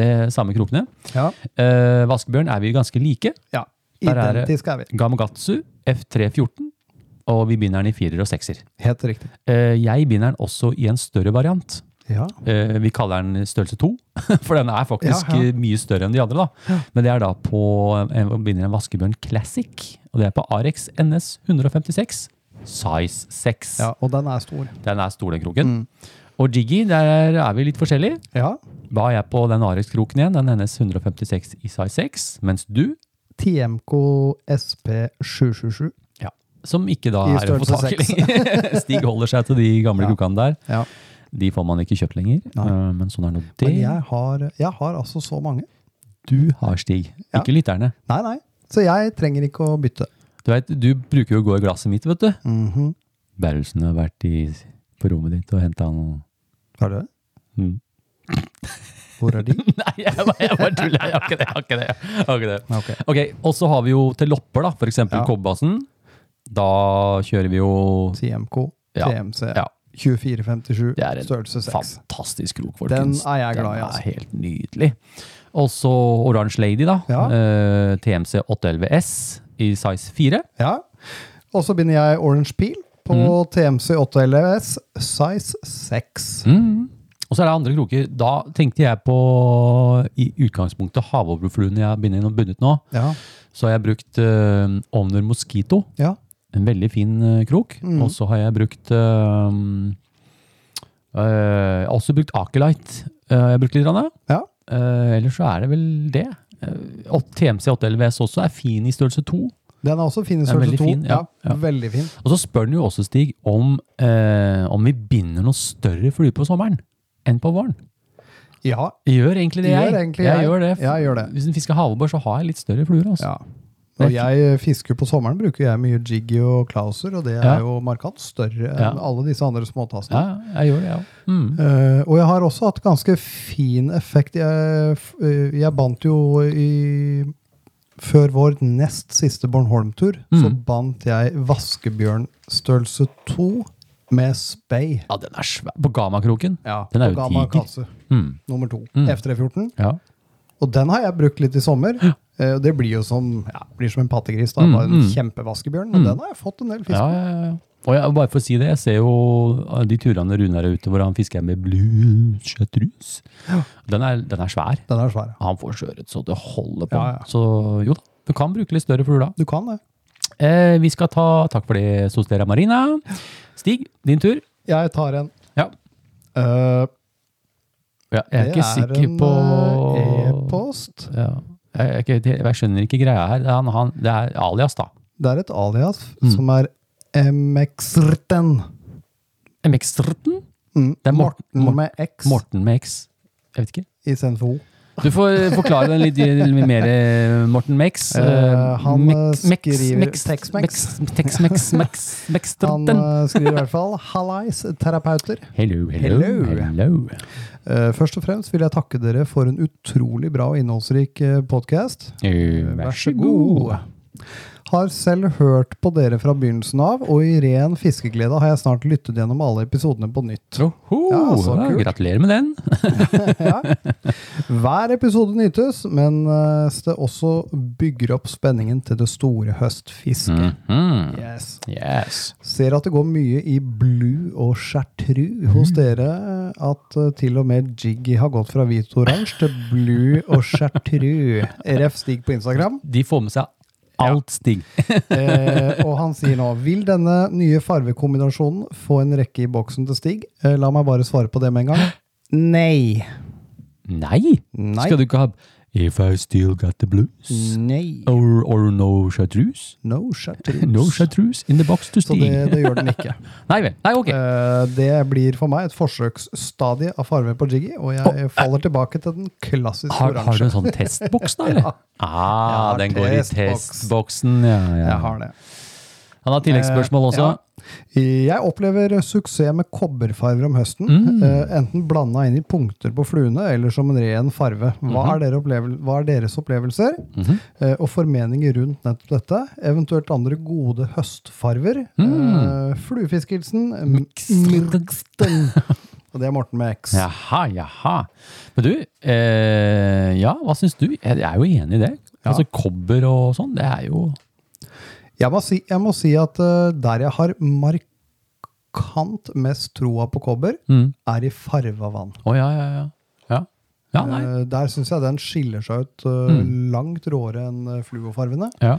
S2: Det er samme krokene.
S6: Ja.
S2: Eh, vaskebjørn er vi ganske like.
S6: ja.
S2: Der er det-
S6: Identisk er vi.
S2: Gamogatsu F314. Og vi binder den i firer og sekser.
S6: Helt riktig.
S2: Eh, jeg binder den også i en større variant.
S6: Ja.
S2: Eh, Vi kaller den størrelse 2, for den er faktisk
S6: Ja, ja.
S2: eh, mye større enn de andre. da. Men det er da på en, vinner en vaskebjørn Classic, og det er på Arex NS 156, size 6.
S6: ja, Mm. og den er stor.
S2: Den er stor, den kroken. Og Jiggy, der er vi litt forskjellige.
S6: Ja.
S2: Da er jeg på den Arex-kroken igjen, den NS 156 i size 6, mens du,
S6: TMK SP777.
S2: som ikke da
S6: I
S2: er å få tak i
S6: størrelse
S2: lenger. Stig holder seg til de gamle krokene der.
S6: Ja.
S2: De får man ikke kjøpt lenger, eh, men sånn er nå det.
S6: Men jeg har, jeg har altså så mange.
S2: Du har Stig,
S6: Ja.
S2: ikke lytterne.
S6: Nei, nei. Så jeg trenger ikke å bytte. Mhm.
S2: Du, vet, du bruker jo å gå i glasset mitt, vet du. Berrelsen har vært i, på rommet ditt og henta noe
S6: Har du det?
S2: Mm.
S6: Hvor er de?
S2: Nei, jeg bare, jeg bare tuller. Jeg har ikke det. Jeg har ikke det. Jeg har ikke det.
S6: Ok.
S2: Ok, Og så har vi jo til lopper, da. For eksempel
S6: Ja.
S2: kobberbassen. Da kjører vi jo
S6: TMK,
S2: Ja.
S6: TMC,
S2: Ja.
S6: 2457,
S2: Det er en
S6: størrelse 6.
S2: Fantastisk krok,
S6: Den
S2: folkens.
S6: er jeg glad i,
S2: Den
S6: altså.
S2: er helt nydelig. Og så Orange Lady, da.
S6: Ja.
S2: Eh, TMC 811S i size 4.
S6: Ja. Og så begynner jeg Orange Peel på
S2: Mhm.
S6: TMC 8 LS, size 6.
S2: Mm. Og så er det andre kroker. Da tenkte jeg på i utgangspunktet havoverfluene jeg har bundet inn og bundet nå.
S6: Ja.
S2: Så har jeg brukt uh, Omner Mosquito,
S6: ja. Mm.
S2: en veldig fin eh, krok. Og så har jeg brukt eh, eh, Jeg har også brukt Akelite. eh, har jeg brukt litt. Rann,
S6: Ja.
S2: ellers så er det vel det. Eh, og TMC 8LVS også er fin i størrelse 2.
S6: Den er også fin i
S2: Den er
S6: størrelse
S2: veldig
S6: 2.
S2: fin, ja. Ja.
S6: Veldig fin.
S2: Og så spør den jo også, Stig, om, eh, om vi binder noe større flue på sommeren enn på våren.
S6: Ja.
S2: Gjør egentlig det, jeg.
S6: Gjør egentlig
S2: jeg,
S6: jeg.
S2: gjør det.
S6: Jeg gjør det.
S2: Hvis en fisker havabbor, så har jeg litt større fluer. Altså.
S6: ja. Når jeg fisker på sommeren, bruker jeg mye jiggy og klauser, og det
S2: Ja.
S6: er jo markant større enn
S2: Ja.
S6: alle disse andre småtassene.
S2: Ja, jeg gjør det, ja. Mm.
S6: Eh, og jeg har også hatt ganske fin effekt. Jeg, f- eh, jeg bandt jo i Før vår nest siste Bornholm-tur, så
S2: Mm.
S6: bandt jeg vaskebjørn størrelse 2 med spey.
S2: ja, den er svær. På Gamakroken.
S6: Ja,
S2: Den er jo
S6: på Gamma
S2: diger.
S6: Kasse,
S2: Mm.
S6: nummer to.
S2: Mm.
S6: F314.
S2: Ja.
S6: Og den har jeg brukt litt i sommer. Eh, og det blir jo som, ja, blir som en pattegris. da,
S2: Mm,
S6: bare En
S2: mm.
S6: kjempevaskebjørn. Og den har jeg fått en del fisk
S2: Ja,
S6: på.
S2: ja, ja. Og jeg, bare for å si det, jeg ser jo ah, de turene Rune er ute hvor han fisker med blue chartreuse. Den, er- den er svær.
S6: Den er svær, ja.
S2: Han får sjøørret så det holder på.
S6: Ja, ja.
S2: Så jo da, du kan bruke litt større fugler da.
S6: Du kan det.
S2: Eh, vi skal ta takk for det, Sostera Marina. Stig, din tur.
S6: Jeg tar en.
S2: Ja. Ja,
S6: Eh,
S2: jeg er
S6: det
S2: ikke sikker
S6: en,
S2: på
S6: eh, E-post.
S2: Ja. Jeg, er ikke- jeg, skjønner ikke greia her. Det er, han, han, det er alias, da.
S6: Det er et alias
S2: Mm.
S6: som er MXRTEN.
S2: MX-13?
S6: Mm.
S2: Det er Morten-
S6: Morten
S2: Mor-
S6: med X
S2: Morten med X. Jeg vet ikke.
S6: istedenfor O.
S2: Du får forklare den litt, litt mer, eh, Morten Mex.
S6: Eh, han, eh, skriver Tex-Mex.
S2: Tex-Mex. Mex-
S6: Han
S2: Mex-Terten.
S6: eh, skriver i hvert fall 'Hallais, terapeuter'.
S2: Hello, hello,
S6: Hello.
S2: hello.
S6: Eh, først og fremst vil jeg takke dere for en utrolig bra og innholdsrik podkast.
S2: Eh, Vær så god.
S6: Har selv hørt på dere fra begynnelsen av, og i ren fiskeglede har jeg snart lyttet gjennom alle episodene på nytt.
S2: Oho,
S6: Ja, så
S2: ja,
S6: kult.
S2: gratulerer med den.
S6: ja. Hver episode nytes, men eh, det også bygger opp spenningen til det store høstfisket.
S2: Mhm.
S6: Yes.
S2: Yes.
S6: Ser at det går mye i blue og chartru
S2: Mm.
S6: hos dere. At eh, til og med Jiggy har gått fra hvit og oransje til blue og chartru. RF Stig på Instagram.
S2: De får med seg alt, Stig.
S6: Eh, og han sier nå Vil denne nye farvekombinasjonen få en rekke i boksen til Stig? Eh, la meg bare svare på det med en gang. Nei.
S2: Nei.
S6: Nei.
S2: Skal du ikke ha If I still got the blues?
S6: Nei.
S2: Or, or no chartreuse?
S6: No chartru.
S2: No chartreuse in the box to
S6: Så
S2: Stig.
S6: det, det gjør den ikke.
S2: Nei vel. Nei, ok.
S6: Eh, det blir for meg et forsøksstadie av farve på Jiggy, og jeg faller tilbake til den klassiske
S2: Har, har du
S6: oransje.
S2: en sånn testboks, da? Eller? Ah,
S6: Jeg har
S2: den går i
S6: testboks.
S2: testboksen. Ja, ja.
S6: Jeg har Eh, det.
S2: Han har tilleggsspørsmål også.
S6: Jeg opplever suksess med kobberfarver om høsten. eh, Enten blanda inn i punkter på fluene, eller som en ren farve. Hva er, dere opplevel- hva er deres opplevelser eh, og formeninger rundt nettopp dette? Eventuelt andre gode høstfarver? Mm. Fluefiskehilsen Myrksten. Og det er Morten med X.
S2: Jaha, jaha. Men du, eh, ja, hva syns du? Jeg er jo enig i det.
S6: Ja.
S2: Altså Kobber og sånn, det er jo
S6: Jeg må si, jeg må si at eh, der jeg har mark markant mest troa på kobber,
S2: Mm.
S6: er i farva vann.
S2: Å, ja, ja, ja. Ja, ja nei. Mm.
S6: Eh, Der syns jeg den skiller seg ut eh, langt råere enn eh, fluofarvene.
S2: Ja.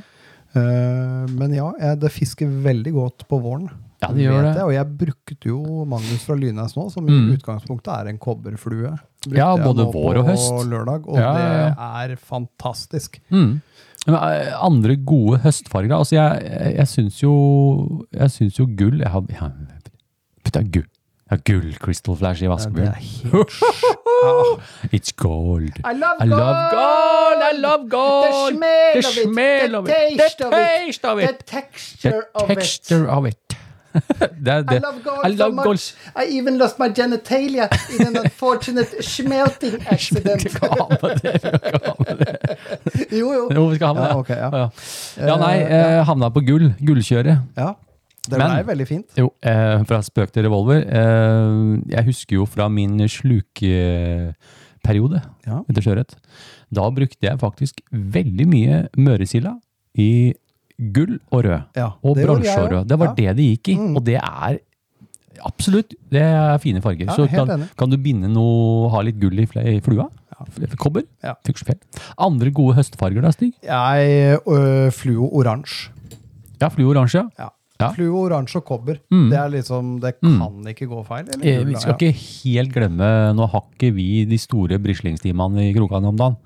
S6: Eh, Men ja, jeg, det fisker veldig godt på våren.
S2: Ja, det gjør
S6: Vet
S2: det.
S6: Jeg, og jeg brukte jo Magnus fra Lynæs nå, som i
S2: Mm.
S6: utgangspunktet er en kobberflue. Brukte
S2: Ja,
S6: jeg
S2: både
S6: nå
S2: vår og
S6: på
S2: høst.
S6: Lørdag, og
S2: Ja, ja,
S6: det er fantastisk.
S2: Mm. Men, eh, andre gode høstfarger da? Altså, jeg, jeg, jeg syns jo Jeg syns jo gull Jeg har, jeg har putta gull. Jeg har gull crystal flash i
S6: Det
S2: vaskebunnen.
S6: er helt
S2: It's gold.
S6: I love
S2: I love gold! I love gold!
S6: The smell
S2: The
S6: of it, the
S2: smell of it, the
S6: taste of it,
S2: taste of it,
S6: texture
S2: the texture of it. Det er det. I love gold.
S6: I even lost my genitalia in an unfortunate smelting
S2: Vi skal ha med det. vi skal ha med det.
S6: Jo, jo.
S2: Jo, vi skal ha med det.
S6: Ja, ok, ja.
S2: Ja, ja nei, eh, havna på gull. Gullkjøret.
S6: Ja, det
S2: Men-
S6: blei veldig fint.
S2: Jo, eh, fra spøk til revolver. Eh, jeg husker jo fra min slukeperiode
S6: Ja.
S2: etter sjøørret. Da brukte jeg faktisk veldig mye møresilda i gull og rød.
S6: Ja,
S2: og
S6: det gjorde jeg
S2: bronse og
S6: også.
S2: rød. Det var
S6: Ja. Mm.
S2: det det gikk i. Og det er absolutt det er fine farger.
S6: Ja,
S2: Så
S6: helt
S2: kan,
S6: enig.
S2: kan du binde noe, ha litt gull i, fle- i flua? F- Kobber?
S6: Ja.
S2: Fuksjefjell. Andre gode høstfarger da, Stig?
S6: Jeg øh, fluo oransje.
S2: Ja, fluoransje.
S6: Ja.
S2: Ja. Mm.
S6: Fluo oransje og kobber. Det er liksom Det kan ikke gå feil. eller?
S2: Eh, Vi skal
S6: Ja.
S2: ikke helt glemme Nå har ikke vi de store brislingstimene i Krokan om dagen.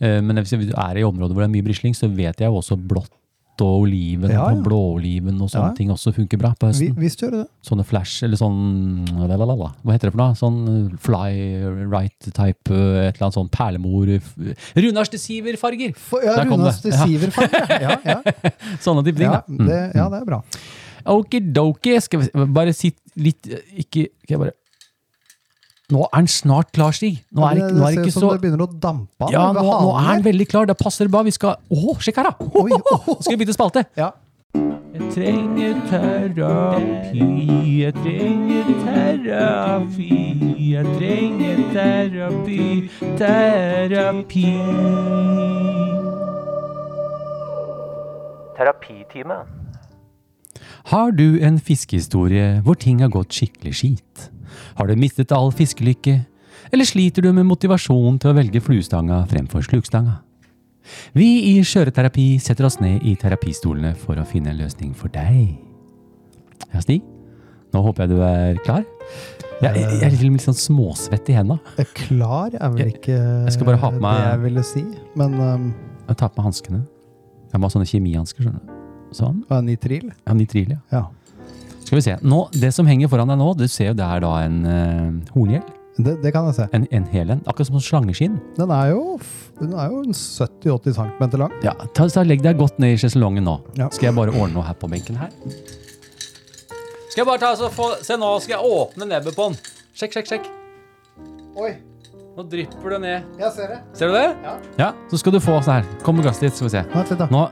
S2: Eh, Men hvis vi er i områder hvor det er mye brisling, så vet jeg jo også blått og oliven
S6: Ja, ja.
S2: og blåoliven og
S6: Ja,
S2: sånne
S6: ja.
S2: ting også funker bra på
S6: Vi,
S2: høsten.
S6: visst gjør det det.
S2: Sånne flash, eller sånn lalalala. Hva heter det for noe? Sånn eh, fly right type, eh, et eller annet sånn perlemor f- Runars til Siver-farger!
S6: For, ja,
S2: Der kom
S6: Runas
S2: det.
S6: til Siver, faen, ja. Ja, ja.
S2: Sånne type ting,
S6: Ja,
S2: da. Mm.
S6: det, ja, det er bra.
S2: Okidoki. Skal vi se- bare sitt litt eh, Ikke Skal jeg bare Nå er den snart klar, Stig. Nå er
S6: det,
S2: ikke, nå er ikke
S6: ser ut som
S2: så
S6: det begynner å dampe av.
S2: ja,
S6: ved
S2: nå, nå er
S6: halen
S2: den
S6: her.
S2: veldig klar. Det passer bra. Vi skal Å, sjekk her, da!
S6: Oi, oh,
S2: Skal vi bytte spalte?
S6: Ja.
S1: Jeg trenger terapi, jeg trenger terapi, jeg trenger terapi, terapi.
S3: Terapitime.
S2: Har du en fiskehistorie hvor ting har gått skikkelig skit? Har du mistet all fiskelykke? Eller sliter du med motivasjon til å velge fluestanga fremfor slukstanga? Vi i Skjøreterapi setter oss ned i terapistolene for å finne en løsning for deg. Ja, Stig? Nå håper jeg du er klar? Jeg, jeg, jeg er til og med litt sånn småsvett i henda.
S6: Eh, Klar er vel ikke
S2: jeg skal bare ha på meg-
S6: det jeg ville si. Men um,
S2: Jeg tar på meg hanskene. Jeg må ha sånne kjemihansker, skjønner du. Sånn.
S6: er det nitril?
S2: Ja, nitril, ja.
S6: Ja.
S2: Skal vi se. Nå, det som henger foran deg nå, du ser jo det er da en eh, horngjell.
S6: Det, det kan jeg se.
S2: En, en hel en. Akkurat som en slangeskinn.
S6: Den er jo, f- den er jo en 70-80 cm lang.
S2: Ja, ta, ta, legg deg godt ned i sjeselongen nå.
S6: Ja.
S2: Skal jeg bare ordne noe her på benken her? Skal jeg bare ta så få, Se nå, skal jeg åpne nebbet på den. Sjekk, sjekk, sjekk.
S6: Oi,
S2: Nå drypper det ned.
S6: jeg ser det.
S2: Ser du det?
S6: Ja.
S2: ja så skal du få sånn her. Kom med glasset ditt, skal vi se.
S6: Vent litt, da.
S2: Nå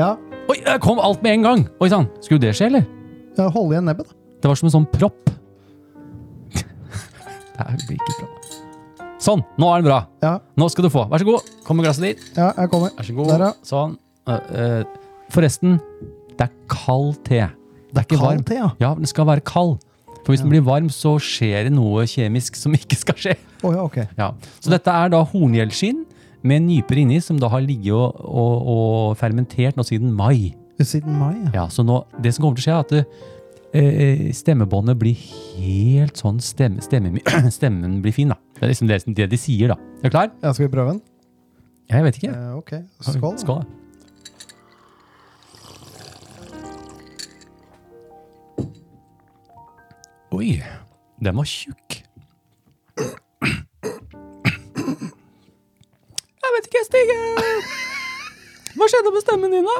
S6: Ja,
S2: Oi, der kom alt med en gang! Oi sann. Skulle det skje, eller?
S6: ja, Hold igjen nebbet, da.
S2: Det var som en sånn propp. Det her blir ikke bra. Sånn, nå er den bra.
S6: Ja,
S2: Nå skal du få. Vær så god. Kom med glasset ditt.
S6: ja jeg kommer.
S2: Vær så god.
S6: Der, ja.
S2: Sånn. Eh, eh, forresten, det er kald te. Det er ikke
S6: Kald
S2: varm.
S6: te, ja.
S2: Ja, den skal være kald. For hvis den blir varm, så skjer det noe kjemisk som ikke skal skje.
S6: Å ja, ok.
S2: Ja. Så dette er da horngjellskinn med nyper inni, som da har ligget og, og, og fermentert nå siden mai.
S6: Siden mai, ja.
S2: Ja, så nå, det som kommer til å skje er at det, eh, stemmebåndet blir helt sånn stemme, stemme, Stemmen blir fin, da. Det er liksom det, det de sier, da. Er du klar?
S6: ja. Skal vi prøve den?
S2: Ja, Jeg vet ikke.
S6: Eh, ok, skål. da.
S2: Skål. da. Oi, den var tjukk. Jeg vet ikke, Stig. Hva skjedde med stemmen din, da?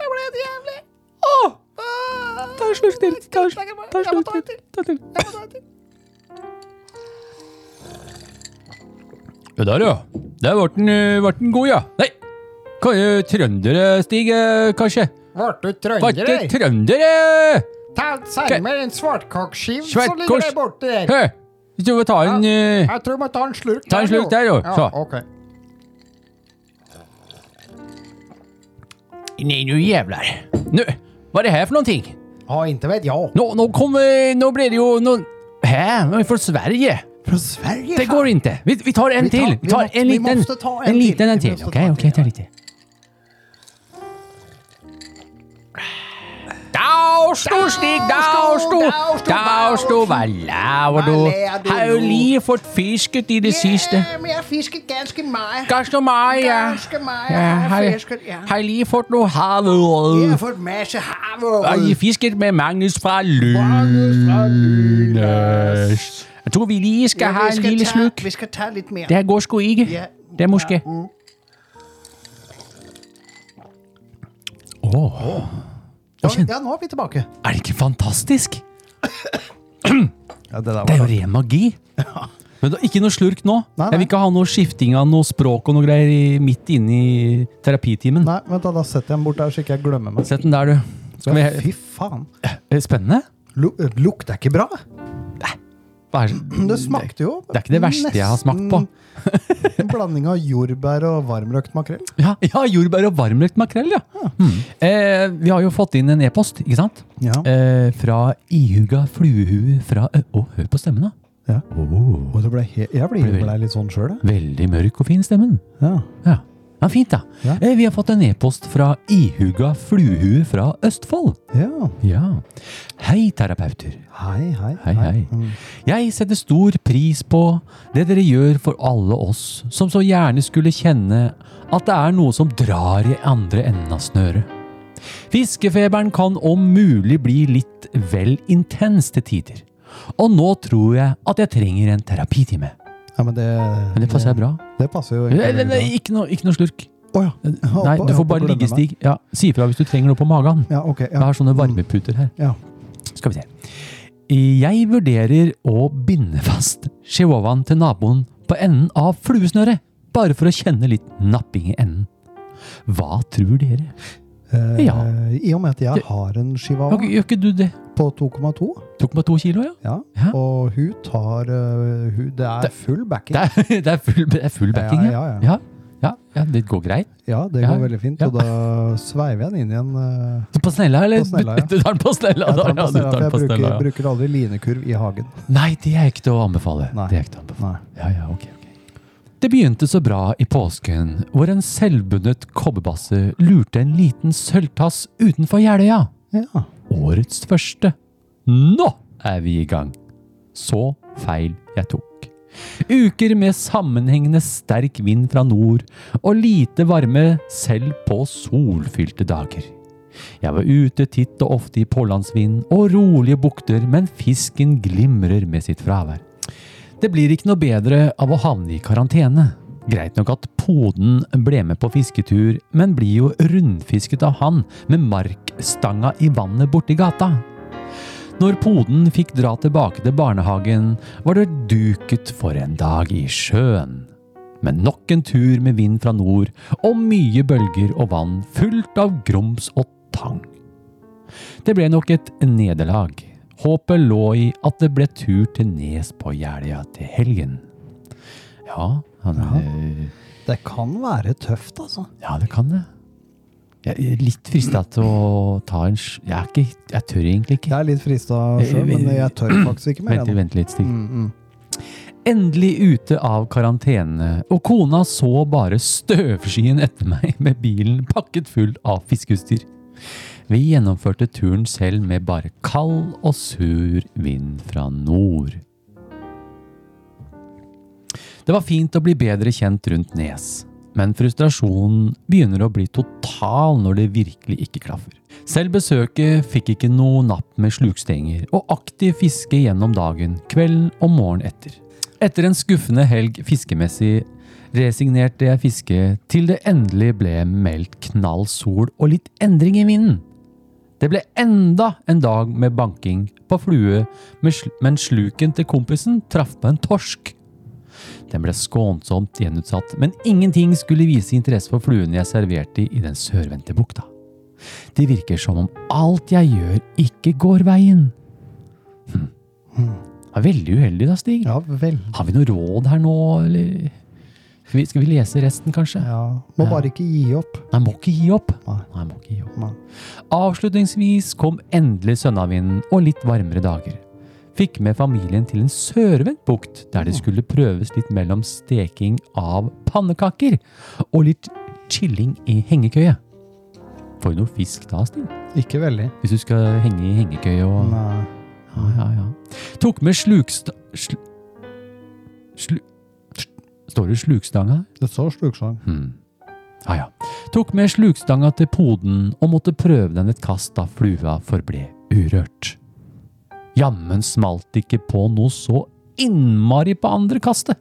S2: Det ble helt jævlig. Åh! Ta en slurk til. Ta en slurk til. Ta en slurk til. Ta en til. Ja, der, ja. Der ble den, eh, ble den god, ja. Nei, kan jo trøndere stige, kanskje? Ble du trøndere? Ble du trøndere?
S5: Send meg en svartkakeskive, så
S2: Svart
S5: ligger
S2: kors.
S5: det borti der.
S2: Hø, hvis du vil ta en, eh,
S5: Jeg tror jeg må ta en slurk.
S2: ta en slurk der, jo.
S5: Ja,
S2: Så.
S5: ok.
S2: Nei, nå jævlar. Nå, hva er det her for noen ting?
S6: Ja, inte vet jag.
S2: Nå, nå kommer Nå blir det jo noen Hæ? Men Fra Sverige?
S6: Från Sverige?
S2: Det går ikke. Vi, vi tar en
S6: Vi tar-
S2: til. Vi
S6: vi
S2: tar
S6: måste-
S2: en
S6: vi
S2: liten
S6: måste ta en
S2: En
S6: till.
S2: liten en
S6: Vi
S2: til.
S6: måste ta
S2: Ok,
S6: en
S2: ok,
S6: till,
S2: ta
S6: ja.
S2: lite. Daustu stig, daustu, daustu, valla, og du
S6: Valla,
S2: har jo
S6: du.
S2: lige fått fisket i det siste.
S6: Eh, men jeg fisket ganske mye.
S2: Ganske mye, ja.
S6: Ganske mye
S2: Ja,
S6: har jeg
S2: har,
S6: fisket, ja.
S2: har lige fått noe havørred.
S6: Jeg har fått masse
S2: Og I
S6: havørred.
S2: fisket med Magnus fra Lynes. Jeg tror vi lige skal ha en lille sluk.
S6: Vi skal ta litt mer.
S2: Det her går sgu ikke.
S6: Ja.
S2: Det er måske. Åh,
S6: Ja, ja, nå er vi tilbake.
S2: er det ikke fantastisk?
S6: Ja, det der
S2: Det er
S6: var
S2: jo ren magi. Men da, ikke noe slurk nå.
S6: Nei,
S2: Jeg
S6: nei.
S2: vil ikke ha noe skifting av noe språk og noe greier i- midt inne i terapitimen.
S6: Nei, vent da, da setter jeg den bort der, så ikke jeg glemmer meg.
S2: Sett den der, du. Skal vi,
S6: Fy faen.
S2: er det spennende?
S6: Lu- eh, Lukter ikke bra.
S2: Hva er Mm, det?
S6: Det smakte jo
S2: Det er ikke det verste jeg har smakt på.
S6: nesten En blanding av jordbær og varmrøkt makrell.
S2: Ja, ja jordbær og varmrøkt makrell, ja. Mm. Eh, vi har jo fått inn en e-post, ikke sant?
S6: Ja.
S2: Eh, fra ihuga fluehue fra Ø... Å, hør på stemmen, da.
S6: Ja.
S2: Åh,
S6: Og det ble he jeg blir
S2: Blir-
S6: blei litt sånn sjøl, jeg.
S2: veldig mørk og fin stemmen.
S6: Ja.
S2: Ja, ja fint, da.
S6: Ja.
S2: Eh, vi har fått en e-post fra ihuga fluehue fra Østfold.
S6: ja.
S2: Ja. Hei, terapeuter.
S6: Hei, hei. Mm.
S2: Hei, Mm. hei. Jeg setter stor pris på det dere gjør for alle oss som så gjerne skulle kjenne at det er noe som drar i andre enden av snøret. Fiskefeberen kan om mulig bli litt vel intens til tider. Og nå tror jeg at jeg trenger en terapitime.
S6: Ja, men det,
S2: Men det passer bra.
S6: Det passer jo
S2: Nei, nei,
S6: egentlig.
S2: nei,
S6: veldig
S2: ikke, noe, ikke noe slurk.
S6: bra. Å ja. Jeg håper-
S2: Nei, du
S6: jeg
S2: får
S6: håper
S2: bare
S6: glemmer meg.
S2: liggestig. Ja, si ifra hvis du trenger noe på magen.
S6: Ja, ok.
S2: Jeg
S6: Ja. Mm.
S2: har sånne varmeputer her.
S6: Ja.
S2: Skal vi se. Jeg vurderer å binde fast chihuahuaen til naboen på enden av fluesnøret, bare for å kjenne litt napping i enden. Hva tror dere?
S6: Eh,
S2: Ja.
S6: I og med at jeg
S2: Det-
S6: har en
S2: Har
S6: chihuahua
S2: ikke- Gjør ikke du det?
S6: på 2,2,
S2: Tok meg to kilo, ja?
S6: ja.
S2: Ja.
S6: og hun tar eh, hun, Det er
S2: Det-
S6: full backing.
S2: Det er, det er, full, det er full backing,
S6: ja,
S2: ja.
S6: ja, ja.
S2: Ja, ja, ja, det går greit.
S6: Ja, det
S2: Ja,
S6: går veldig fint.
S2: ja.
S6: Og da sveiver jeg den inn igjen. eh,
S2: Så På snella, eller?
S6: På snella, ja.
S2: Du tar den på snella,
S6: Jeg
S2: da.
S6: tar den
S2: Ja, du
S6: på snella,
S2: tar den på
S6: for jeg
S2: snella, ja.
S6: bruker, bruker aldri linekurv i hagen.
S2: Nei, det er ikke til å anbefale.
S6: Nei.
S2: Det er ikke til å anbefale.
S6: Nei.
S2: Ja, ja, ok, ok. Det begynte så bra i påsken, hvor en selvbundet kobberbasse lurte en liten sølvtass utenfor Jeløya.
S6: Ja.
S2: Årets første. Nå er vi i gang! Så feil jeg tok. Uker med sammenhengende sterk vind fra nord og lite varme selv på solfylte dager. Jeg var ute titt og ofte i pålandsvind og rolige bukter, men fisken glimrer med sitt fravær. Det blir ikke noe bedre av å havne i karantene. Greit nok at poden ble med på fisketur, men blir jo rundfisket av han med markstanga i vannet borti gata. Når poden fikk dra tilbake til barnehagen, var det duket for en dag i sjøen. Men nok en tur med vind fra nord, og mye bølger og vann fullt av grums og tang. Det ble nok et nederlag. Håpet lå i at det ble tur til Nes på Jeløya til helgen. Ja, han er
S6: Det kan være tøft, altså.
S2: ja, det kan det. Jeg er litt frista til å ta en sj... Jeg, er ikke, jeg tør egentlig
S6: Jeg
S2: ikke.
S6: er litt frista sjøl, men jeg tør faktisk ikke mer.
S2: Vent,
S6: ennå.
S2: vent litt, Stig.
S6: Mm, mm.
S2: Endelig ute av karantene, og kona så bare støvskyen etter meg med bilen pakket full av fiskeutstyr. Vi gjennomførte turen selv med bare kald og sur vind fra nord. Det var fint å bli bedre kjent rundt Nes, men frustrasjonen begynner å bli total når det virkelig ikke klaffer. Selv besøket fikk ikke noe napp med slukstenger, og aktiv fiske gjennom dagen, kvelden og morgenen etter. Etter en skuffende helg fiskemessig resignerte jeg fisket til det endelig ble meldt knall sol og litt endring i vinden. Det ble enda en dag med banking på flue, men sl- men sluken til kompisen traff på en torsk. Den ble skånsomt gjenutsatt, men ingenting skulle vise interesse for fluene jeg serverte i den sørvendte bukta. Det virker som om alt jeg gjør, ikke går veien. Hm. Ja, veldig uheldig da, Stig.
S6: Ja, veldig.
S2: Har vi noe råd her nå, eller? Skal vi, skal vi lese resten, kanskje?
S6: Ja. Må
S2: Ja.
S6: bare ikke gi opp.
S2: Nei, må ikke gi opp.
S6: Nei.
S2: Nei, må ikke gi opp.
S6: Nei.
S2: Avslutningsvis kom endelig sønnavinden og litt varmere dager. Fikk med familien til en sørvendt bukt, der det skulle prøves litt mellom steking av pannekaker og litt chilling i hengekøye. Får du noe fisk da, Stig?
S6: Ikke veldig.
S2: Hvis du skal henge i hengekøye og
S6: Nei.
S2: Ja, ja, ja. Tok med sluksta... Slu... Slu... Står det slukstanga?
S6: Det står sluksang.
S2: Hmm. Ja, ja. Tok med slukstanga til poden og måtte prøve den et kast da flua forble urørt. Jammen smalt ikke på noe så innmari på andre kastet.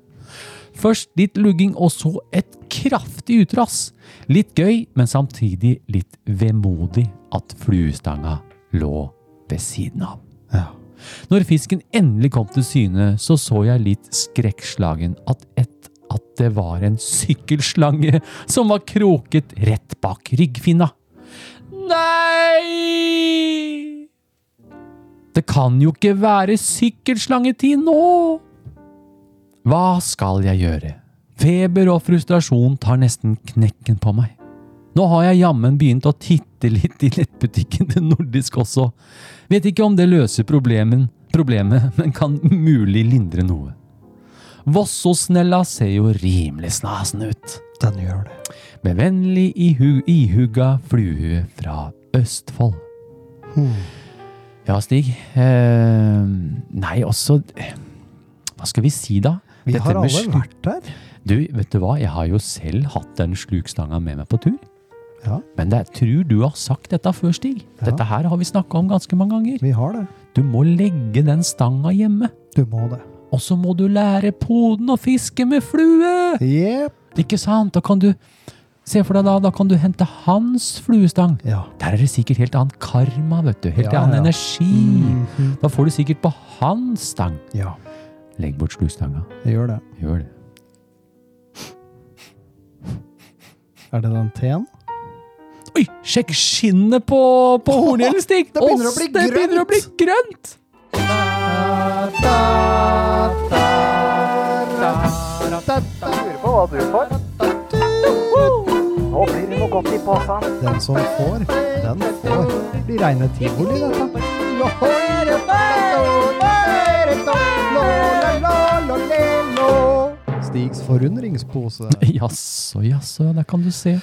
S2: Først litt lugging og så et kraftig utrass. Litt gøy, men samtidig litt vemodig at fluestanga lå ved siden av. Når fisken endelig kom til syne, så så jeg litt skrekkslagen at, et, at det var en sykkelslange som var kroket rett bak ryggfinna. Nei! Det kan jo ikke være sykkelslangetid nå! Hva skal jeg gjøre? Feber og frustrasjon tar nesten knekken på meg. Nå har jeg jammen begynt å titte litt i nettbutikken til Nordisk også. Vet ikke om det løser problemen, problemet, men kan mulig lindre noe. Vossosnella ser jo rimelig snasen ut.
S6: Den gjør det.
S2: Med vennlig ihu, ihugga flue fra Østfold.
S6: Hmm.
S2: Ja, Stig. Eh, nei, også eh, Hva skal vi si, da?
S6: Vi
S2: Dette
S6: har
S2: med
S6: alle
S2: slu-
S6: vært der.
S2: Du, vet du hva? Jeg har jo selv hatt den slukstanga med meg på tur.
S6: Ja.
S2: Men det tror du har sagt dette før, Stig.
S6: Ja.
S2: Dette her har vi snakka om ganske mange ganger.
S6: Vi har det.
S2: Du må legge den stanga hjemme.
S6: Du må det.
S2: Og så må du lære poden å fiske med flue!
S6: Jepp.
S2: Ikke sant? Da kan du Se for deg da, da kan du hente hans fluestang.
S6: Ja.
S2: Der er det sikkert helt annen karma, vet du. Helt
S6: Ja,
S2: annen
S6: ja.
S2: energi.
S6: Mhm.
S2: Da får du sikkert på hans stang.
S6: Ja,
S2: Legg bort slustanga.
S6: det gjør det.
S2: Gjør det.
S6: Er det den T-en?
S2: Oi, sjekk skinnet på, på hornhjelen, Stig!
S6: Det begynner å
S2: Åss,
S6: bli
S2: det begynner å bli grønt!
S5: Jeg lurer på hva du får. Nå blir det noe godt i posen.
S6: Den som får, den får. Det blir reine tivoli, dette. Stigs forundringspose.
S2: Jaså, jaså, der kan du se.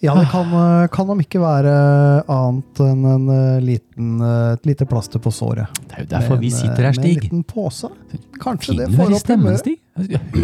S6: Ja, det kan, eh, kan om ikke være eh, annet enn en eh, liten, eh, et lite plaster på såret.
S2: Det er jo derfor
S6: Med
S2: vi
S6: en, eh,
S2: sitter her,
S6: Med en
S2: Stig.
S6: liten pose. Kanskje
S2: Fin
S6: det
S2: du er
S6: får
S2: i
S6: opp
S2: stemmen,
S6: humøret.
S2: Stig.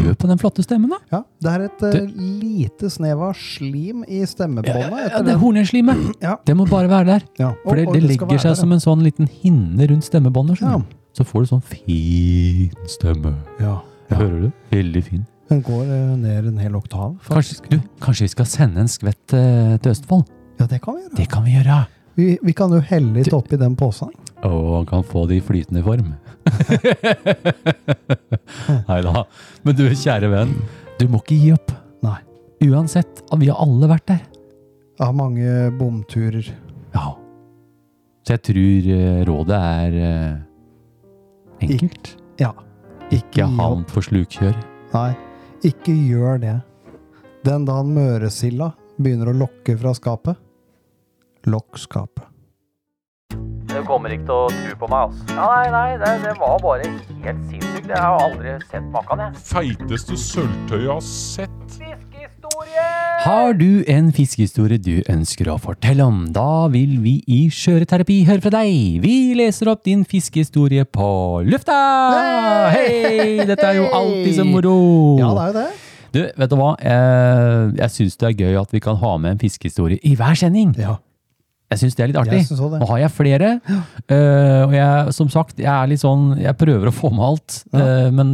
S2: Hør på den flotte stemmen, da.
S6: Ja, det er et eh, lite snev av slim i stemmebåndet.
S2: Ja,
S6: etter
S2: det
S6: den.
S2: horneslimet.
S6: Ja.
S2: Det må bare være der.
S6: Ja,
S2: For
S6: og-
S2: det,
S6: og
S2: det
S6: skal
S2: legger
S6: være
S2: seg
S6: der,
S2: som en sånn liten hinne rundt stemmebåndet. skjønner
S6: Ja.
S2: du. Så får du sånn fin stemme.
S6: Ja.
S2: Hører du? Veldig fin.
S6: Den går eh, ned en hel oktav.
S2: Kanskje, du, kanskje vi skal sende en skvett eh, til Østfold?
S6: Ja, det kan vi gjøre.
S2: Det kan vi gjøre.
S6: Vi, vi kan jo helle litt oppi den posen.
S2: Og kan få det i flytende form. Nei da. Men du, kjære venn, du må ikke gi opp.
S6: Nei.
S2: Uansett, vi har alle vært der.
S6: Av mange bomturer.
S2: Ja. Så jeg tror eh, rådet er eh, enkelt.
S6: Ja.
S2: Ikke
S6: gi
S2: havn på slukkjør.
S6: Nei, ikke gjør det. Den dagen møresilla begynner å lokke fra skapet, lokk skapet.
S1: Du kommer ikke til å tro på meg, altså. Nei, nei, det, det var bare helt sinnssykt. Jeg har aldri sett maken, jeg.
S4: Feiteste sølvtøyet jeg har sett.
S2: Har du en fiskehistorie du ønsker å fortelle om, da vil vi i Skjøreterapi høre fra deg. Vi leser opp din fiskehistorie på lufta! Hei! Dette er jo alltid så moro.
S6: Ja, det er jo det.
S2: Du, vet du hva? Eh, Jeg syns det er gøy at vi kan ha med en fiskehistorie i hver sending.
S6: Ja.
S2: Jeg syns det er litt artig.
S6: Jeg synes også det.
S2: Nå har jeg flere. eh, og jeg, som sagt, jeg er litt sånn Jeg prøver å få med alt, eh, men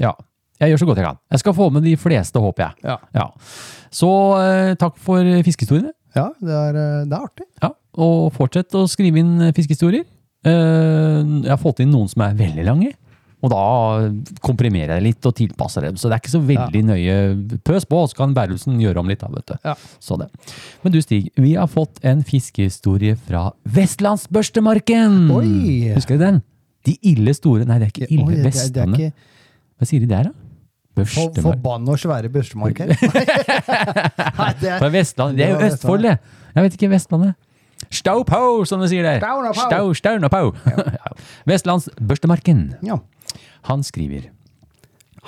S2: ja. Jeg gjør så godt jeg kan. Jeg skal få med de fleste, håper jeg.
S6: Ja.
S2: Så eh, takk for eh, fiskehistoriene.
S6: Ja, det er, eh, det er artig.
S2: Ja, og fortsett å skrive inn eh, fiskehistorier. Eh, jeg har fått inn noen som er veldig lange. Og da komprimerer jeg litt og tilpasser dem. Så det er ikke så veldig nøye pøs på, så kan Berlufsen gjøre om litt. da, vet du.
S6: Ja.
S2: Så det. Men du Stig, vi har fått en fiskehistorie fra Vestlandsbørstemarken!
S6: Oi!
S2: Husker du den? De ille store Nei, det er ikke ille
S6: Oi, det, er- det er
S2: Vestlandet.
S6: ikke
S2: Hva sier de der, da?
S6: For-
S2: Børstemark.
S6: Forbanna svære børstemarker. Nei, det
S2: Fra
S6: er
S2: Vestlandet. Det er jo
S6: Det var
S2: Østfold, det. Jeg vet ikke Vestlandet. Staupau, som de sier der.
S6: Staunapau.
S2: Stau, Staunapau. Ja. Vestlandsbørstemarken.
S6: ja.
S2: Han skriver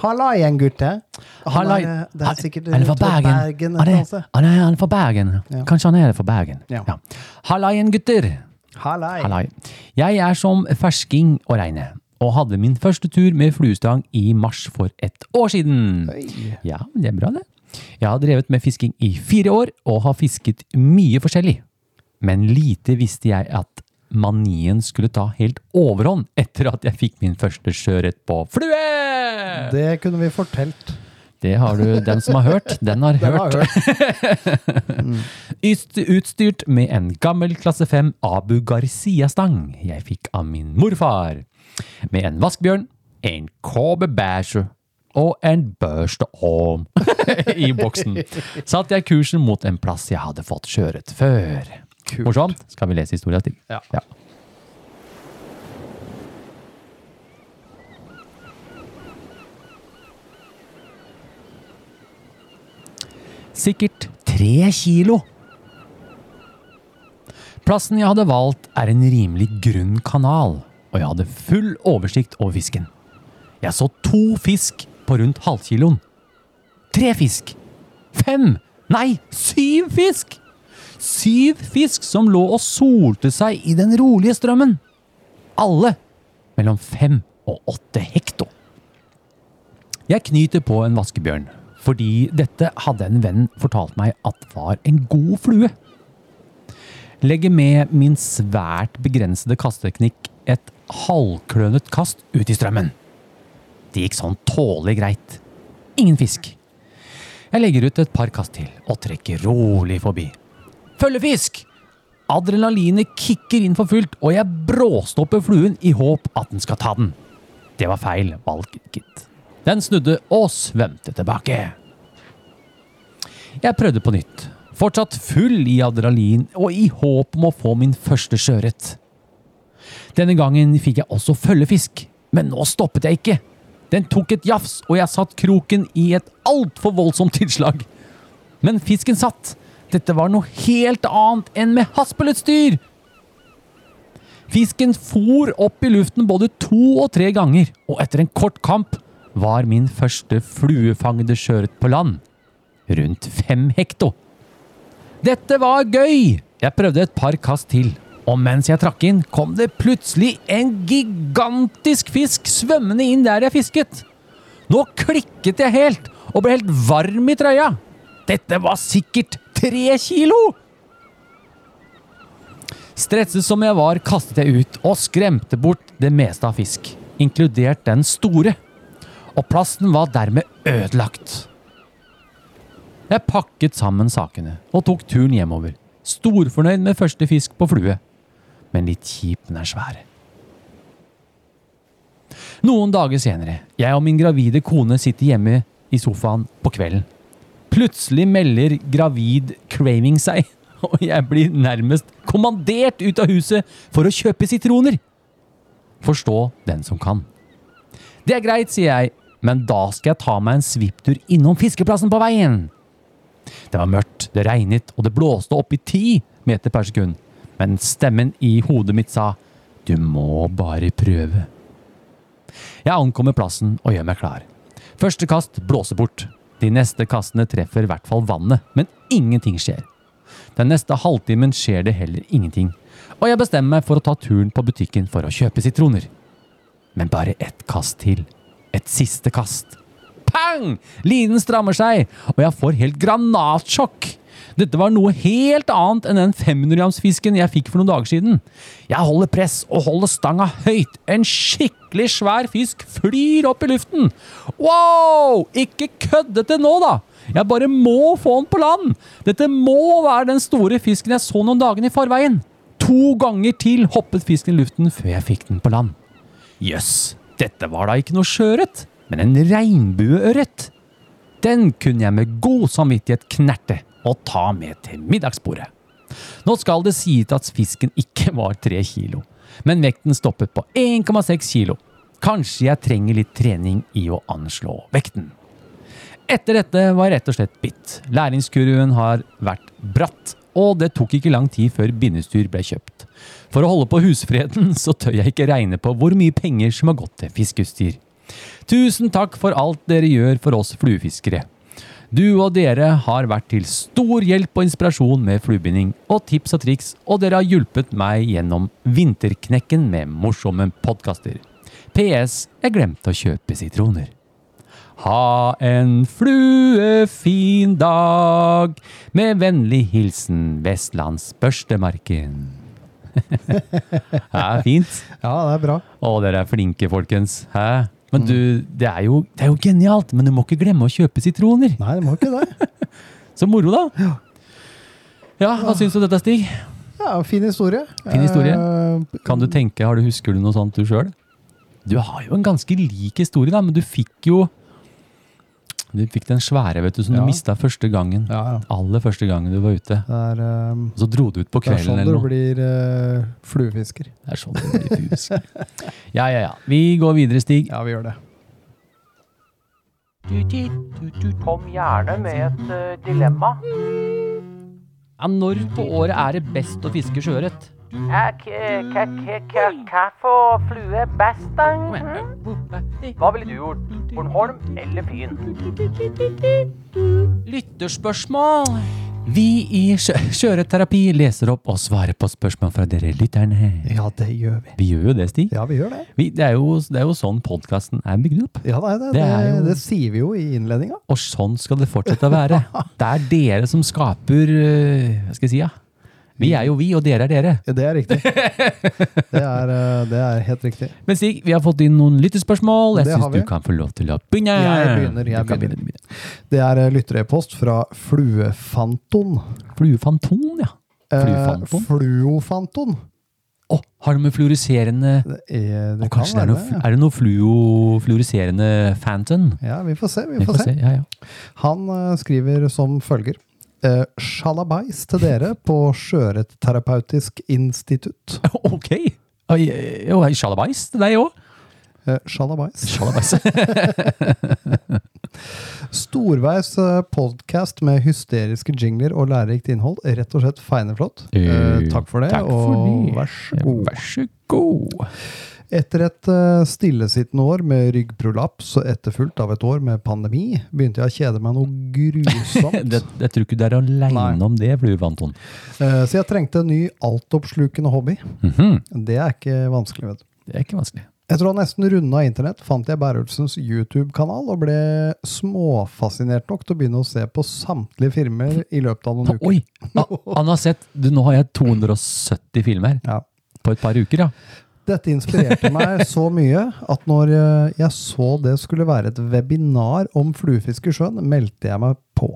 S6: Halla igjen, gutter. Han
S2: Hallai-
S6: er, det er sikkert
S2: han er fra
S6: tror jeg,
S2: Bergen.
S6: et
S2: han,
S6: eller annet
S2: er,
S6: sted.
S2: han, er, han er fra Bergen.
S6: Ja.
S2: Kanskje han er fra Bergen.
S6: Ja.
S2: Hallaien, gutter!
S6: Hallai.
S2: Hallai. Jeg er som fersking å regne, og hadde min første tur med fluestang i mars for et år siden.
S6: Oi.
S2: Ja, det er bra det. Jeg har drevet med fisking i fire år, og har fisket mye forskjellig. Men lite visste jeg at manien skulle ta helt overhånd etter at jeg fikk min første sjøørret på flue! Det,
S6: Det kunne vi fortelt.
S2: har du, den som har hørt, den har
S6: Den
S2: hørt.
S6: har jeg hørt.
S2: Yst- Utstyrt med en gammel klasse 5 Abu Garcia-stang jeg fikk av min morfar. Med en vaskbjørn, en kobebæsje og en børsteorm i boksen satte jeg kursen mot en plass jeg hadde fått kjøret før. Morsomt? Skal vi lese historia til?
S6: Ja.
S2: Sikkert tre kilo. Plassen jeg hadde valgt er en rimelig grunn kanal, og jeg hadde full oversikt over fisken. Jeg så to fisk på rundt halvkiloen. Tre fisk. Fem. Nei, syv fisk! Syv fisk som lå og solte seg i den rolige strømmen. Alle mellom fem og åtte hekto. Jeg knyter på en vaskebjørn, fordi dette hadde en venn fortalt meg at var en god flue. Legger med min svært begrensede kasteteknikk et halvklønet kast ut i strømmen. Det gikk sånn tålelig greit. Ingen fisk. Jeg legger ut et par kast til og trekker rolig forbi. Følgefisk! Adrenalinet kicker inn for fullt, og jeg bråstopper fluen i håp at den skal ta den. Det var feil valg, gitt. Den snudde og svømte tilbake. Jeg prøvde på nytt. Fortsatt full i adrenalin og i håp om å få min første sjøørret. Denne gangen fikk jeg også følgefisk, men nå stoppet jeg ikke. Den tok et jafs, og jeg satt kroken i et altfor voldsomt tilslag. Men fisken satt. Dette var noe helt annet enn med haspelutstyr! Fisken for opp i luften både to og tre ganger, og etter en kort kamp var min første fluefangede sjøørret på land. Rundt fem hekto. Dette var gøy! Jeg prøvde et par kast til, og mens jeg trakk inn, kom det plutselig en gigantisk fisk svømmende inn der jeg fisket. Nå klikket jeg helt og ble helt varm i trøya. Dette var sikkert tre kilo! Stresset som jeg var, kastet jeg ut og skremte bort det meste av fisk, inkludert den store, og plassen var dermed ødelagt. Jeg pakket sammen sakene og tok turen hjemover, storfornøyd med første fisk på flue, men litt kjip den er svære. Noen dager senere, jeg og min gravide kone sitter hjemme i sofaen på kvelden. Plutselig melder gravid craving seg, og jeg blir nærmest kommandert ut av huset for å kjøpe sitroner. Forstå den som kan. Det er greit, sier jeg, men da skal jeg ta meg en svipptur innom fiskeplassen på veien. Det var mørkt, det regnet, og det blåste opp i ti meter per sekund. Men stemmen i hodet mitt sa, du må bare prøve. Jeg ankommer plassen og gjør meg klar. Første kast blåser bort. De neste kastene treffer i hvert fall vannet, men ingenting skjer. Den neste halvtimen skjer det heller ingenting, og jeg bestemmer meg for å ta turen på butikken for å kjøpe sitroner. Men bare ett kast til. Et siste kast. Pang! Linen strammer seg, og jeg får helt granatsjokk. Dette var noe helt annet enn den 500-gramsfisken jeg fikk for noen dager siden. Jeg holder press og holder stanga høyt. En skikkelig svær fisk flyr opp i luften. Wow! Ikke køddete nå, da! Jeg bare må få den på land! Dette må være den store fisken jeg så noen dager i forveien. To ganger til hoppet fisken i luften før jeg fikk den på land. Jøss, dette var da ikke noe sjøørret, men en regnbueørret. Den kunne jeg med god samvittighet knerte og ta med til middagsbordet. Nå skal det sies at fisken ikke var tre kilo, men vekten stoppet på 1,6 kilo. Kanskje jeg trenger litt trening i å anslå vekten. Etter dette var jeg rett og slett bitt. Læringskurven har vært bratt, og det tok ikke lang tid før bindestyr ble kjøpt. For å holde på husfreden så tør jeg ikke regne på hvor mye penger som har gått til fiskeutstyr. Tusen takk for alt dere gjør for oss fluefiskere. Du og dere har vært til stor hjelp og inspirasjon med fluebinding og tips og triks, og dere har hjulpet meg gjennom vinterknekken med morsomme podkaster. PS. Jeg glemte å kjøpe sitroner. Ha en fluefin dag! Med vennlig hilsen Vestlandsbørstemarken. det er fint.
S6: Ja, det er bra.
S2: Å, dere er flinke, folkens. Hæ? Men du, det er, jo, det er jo genialt, men du må ikke glemme å kjøpe sitroner.
S6: Nei, det må ikke det.
S2: Så moro, da. Ja,
S6: Ah.
S2: hva syns du om dette, Stig?
S6: Ja, Fin historie.
S2: Fin historie.
S6: Eh,
S2: Kan du tenke, har du Husker du noe sånt du sjøl? Du har jo en ganske lik historie, da, men du fikk jo Du fikk den svære, vet du, som
S6: Ja.
S2: du mista første gangen.
S6: ja, ja.
S2: Aller første gangen du var ute.
S6: Det er, eh,
S2: Og så dro du ut på
S6: det er
S2: kvelden
S6: sånn
S2: eller
S6: du
S2: noe.
S6: blir eh, fluefisker.
S2: Det er sånn det blir fusk. Ja, ja, ja. Vi går videre, Stig.
S6: Ja, vi gjør det.
S3: Kom gjerne med et eh, dilemma.
S2: Ja, når på året er det best å fiske sjøørret?
S3: Hva for flue best, da? Hva ville du gjort? Bornholm eller Fyn?
S2: Lytterspørsmål! Vi i Sjø- Sjøørretterapi leser opp og svarer på spørsmål fra dere lytterne.
S6: Ja, det gjør vi.
S2: Vi gjør jo det, Stig.
S6: Ja, vi gjør det.
S2: Vi, det, er jo, det er jo sånn podkasten er bygd opp.
S6: Ja, nei, det,
S2: Det
S6: det,
S2: er
S6: det,
S2: jo-
S6: sier vi jo i innledninga.
S2: Og sånn skal det fortsette å være. Det er dere som skaper øh, Hva skal jeg si, ja? Vi er jo vi, og dere er dere.
S6: Ja, det er riktig. Det er, eh, det er helt riktig.
S2: Men Stig, vi har fått inn noen lyttespørsmål. Jeg
S6: Det har
S2: syns du
S6: vi.
S2: kan få lov til å begynne.
S6: Jeg begynner, jeg
S2: Du kan
S6: begynner.
S2: begynne, begynne.
S6: Det er eh, lytterepost fra Fluefanton.
S2: Fluefanton, ja. Fluefanton?
S6: Eh, Fluofanton.
S2: Å, har du med fluoriserende
S6: Det er,
S2: Og
S6: det kan
S2: kanskje det
S6: være
S2: er noe,
S6: det.
S2: fl-
S6: ja.
S2: er det noe fluo, fluoriserende phantom?
S6: Ja, vi får se. Vi
S2: Vi
S6: får se.
S2: Ja, ja.
S6: Han eh, skriver som følger. Eh, Sjalabais til dere på Sjøørretterapeutisk institutt.
S2: Ok! Oi, eh, jo, er Sjalabais til deg òg?
S6: Eh, Sjalabais.
S2: Sjalabais.
S6: Storveis podkast med hysteriske jingler og lærerikt innhold. Rett og slett feineflott. Eh, takk for det,
S2: Takk for
S6: og
S2: det.
S6: vær så god.
S2: Vær så
S6: Oh.
S2: god.
S6: Etter et eh, stillesittende år med ryggprolaps og etterfulgt av et år med pandemi, begynte jeg å kjede meg noe grusomt.
S2: Det, jeg tror ikke du er aleine
S6: Nei.
S2: om det, Flue Anton.
S6: Eh, så jeg trengte en ny altoppslukende hobby.
S2: Mhm.
S6: Det er ikke vanskelig, vet du.
S2: Det er ikke vanskelig.
S6: Etter å ha nesten runda internett fant jeg Bærulsens YouTube-kanal og ble småfascinert nok til å begynne å se på samtlige filmer i løpet av noen uker.
S2: Oi! Ah, Han har sett du, Nå har jeg 270 filmer
S6: Ja.
S2: på et par uker, ja.
S6: Dette inspirerte meg så mye at når eh, jeg så det skulle være et webinar om fluefiske i sjøen, meldte jeg meg på.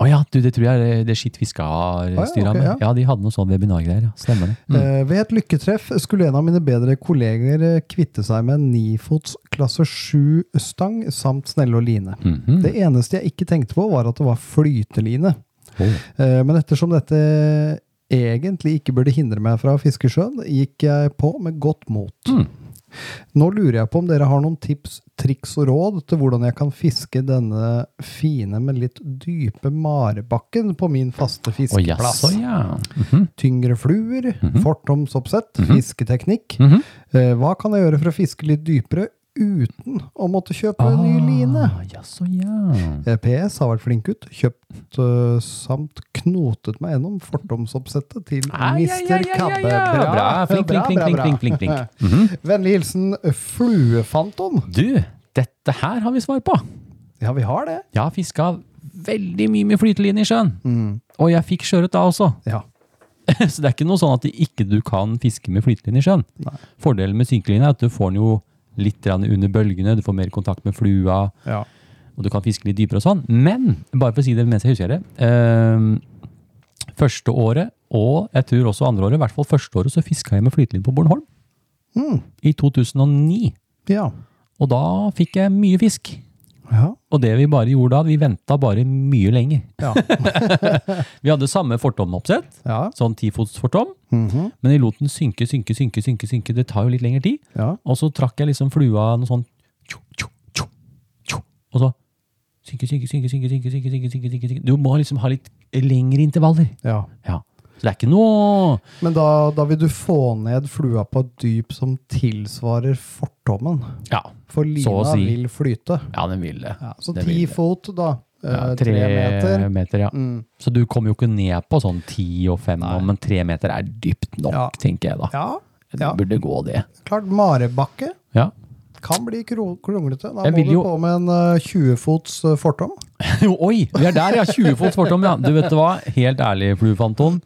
S2: Å ja, du, det tror jeg er det skitt vi skal
S6: ja,
S2: styre
S6: ok,
S2: med.
S6: ja.
S2: Ja, de hadde noe sånn webinargreier. Ja. Stemmer det. Mm.
S6: Eh, ved et lykketreff skulle en av mine bedre kolleger eh, kvitte seg med en nifots klasse 7-stang samt snelle og line.
S2: Mhm.
S6: Det eneste jeg ikke tenkte på, var at det var flyteline.
S2: Å.
S6: Eh, Men ettersom dette egentlig ikke burde hindre meg fra å fiske i sjøen, gikk jeg på med godt mot.
S2: Mm.
S6: Nå lurer jeg på om dere har noen tips, triks og råd til hvordan jeg kan fiske denne fine, men litt dype marebakken på min
S2: Å
S6: faste fiskeplass.
S2: jaså, ja.
S6: Tyngre fluer, fortomsoppsett, fisketeknikk.
S2: Mhm.
S6: Eh, Hva kan jeg gjøre for å fiske litt dypere uten å måtte kjøpe en ny line?
S2: Ah, jaså, ja.
S6: Eh, PS har vært flink ut, kjøpt øh, samt knotet meg gjennom fordomsoppsettet til
S2: Ai, ai, ai,
S6: Mr.
S2: ai,
S6: Kabbe.
S2: ai, ai. Bra, flink, flink,
S6: bra, bra,
S2: flink,
S6: bra. Mhm.
S2: flink, flink, flink. Mhm.
S6: Vennlig hilsen eh, Fluefanton.
S2: Du, dette her har vi svar på.
S6: Ja, vi har det.
S2: Jeg har fiska veldig mye med flyteline i sjøen.
S6: Mm.
S2: Og jeg fikk sjøørret da også.
S6: Ja.
S2: Så det er ikke noe sånn at det ikke du kan fiske med flyteline i sjøen. Fordelen med synkeline er at du får den jo litt grann under bølgene, du får mer kontakt med flua,
S6: Ja.
S2: og du kan fiske litt dypere og sånn. Men, bare for å si det mens jeg husker det, ehm, første året, og jeg tror også andre året, i hvert fall første året, så fiska jeg med flyteline på Bornholm.
S6: Hmm.
S2: I 2009.
S6: Ja.
S2: Og da fikk jeg mye fisk.
S6: Ja.
S2: Og det vi bare gjorde da, vi venta bare mye lenger.
S6: Ja.
S2: Vi hadde samme fortomoppsett,
S6: Ja.
S2: sånn tifotsfortom,
S6: Mhm.
S2: men jeg lot den synke, synke, synke, synke, synke. Det tar jo litt lengre tid.
S6: Ja.
S2: Og så trakk jeg liksom flua noe sånn tjo, tjo, tjo, tjo, og så Synke, synke, synke, synke, synke, synke, synke, synke, synke, synke. Du må liksom ha litt lengre intervaller.
S6: Ja.
S2: Ja. Så det er ikke noe
S6: Men da, da vil du få ned flua på et dyp som tilsvarer fortommen.
S2: Ja,
S6: For
S2: Så å
S6: lina
S2: si.
S6: vil flyte.
S2: ja den vil det.
S6: Ja, så
S2: Det
S6: ti
S2: vil det.
S6: fot, da.
S2: Ja,
S6: eh, tre meter.
S2: ja.
S6: Mm.
S2: Så du kommer jo ikke ned på sånn ti og fem, nå, men tre meter er dypt nok,
S6: Ja.
S2: tenker jeg da.
S6: Ja,
S2: Det
S6: ja.
S2: burde gå, det.
S6: klart. Marebakke
S2: Ja.
S6: kan bli kro- kronglete. Da
S2: Jeg
S6: må
S2: vil
S6: du
S2: jo-
S6: på med en eh, 20 fots eh, fortom.
S2: Jo, Oi, vi er der, ja. 20 fots fortom, ja. Du vet hva? Helt ærlig, Fluefanton.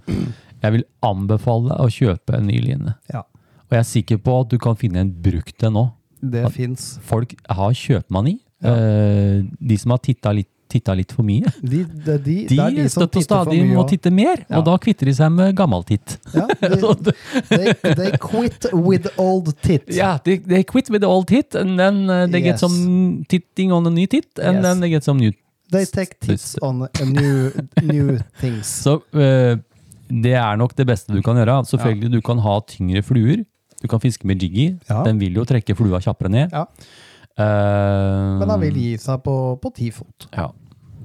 S2: Jeg vil anbefale deg å kjøpe en ny line.
S6: Ja,
S2: Og jeg er sikker på at du kan finne en brukt en nå.
S6: det fins.
S2: Folk har kjøpmani. Eh, De som har titta litt, tittet litt for mye,
S6: De, de, de,
S2: de,
S6: det er de som
S2: støtt og
S6: titter for
S2: stadig
S6: mye.
S2: må
S6: og-
S2: titte mer.
S6: Ja.
S2: Og da kvitter de seg med gammaltitt.
S6: Ja, de, they, they quit with old tit.
S2: Ja, they, they quit with the old tit, and then uh, they get
S6: Yes.
S2: some titting on a new tit, and
S6: Yes.
S2: then they get some new.
S6: They take tits on a new, new things.
S2: Så uh, det er nok det beste du kan gjøre. Selvfølgelig, du kan ha tyngre fluer. Du kan fiske med jiggy.
S6: Ja.
S2: Den vil jo trekke flua kjappere ned.
S6: Ja.
S2: Eh,
S6: Men han vil gi seg på, på ti fot.
S2: Ja,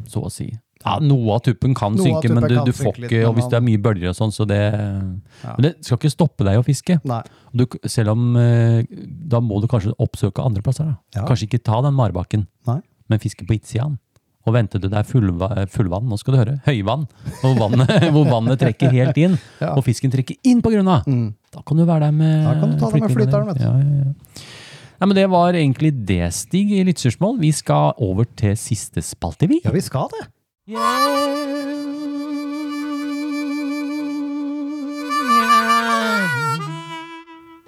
S2: så å si. Ja, noe av tuppen kan
S6: Noe av
S2: synke, men
S6: tuppen
S2: du,
S6: kan
S2: du
S6: synke
S2: får
S6: litt,
S2: ikke,
S6: men
S2: og hvis det er
S6: han-
S2: mye bølger og sånn, så det Men det skal ikke stoppe deg å fiske.
S6: Nei.
S2: Du, selv om eh, Da må du kanskje oppsøke andre plasser. Da.
S6: Ja.
S2: Kanskje ikke ta den marbakken,
S6: Nei.
S2: men fiske på utsida. Og vente til det er fullva, fullvann, nå skal du høre, høyvann, hvor vannet, hvor vannet trekker helt inn.
S6: Ja.
S2: Og fisken trekker inn på grunna!
S6: Mm.
S2: Da kan du være der med
S6: Da kan du ta det med
S2: flytteren din.
S6: flytteren, vet du.
S2: Ja, ja, ja. Nei, men det var egentlig det, Stig, i lyttersmål. Vi skal over til siste spalte, vi.
S6: Ja, vi skal det.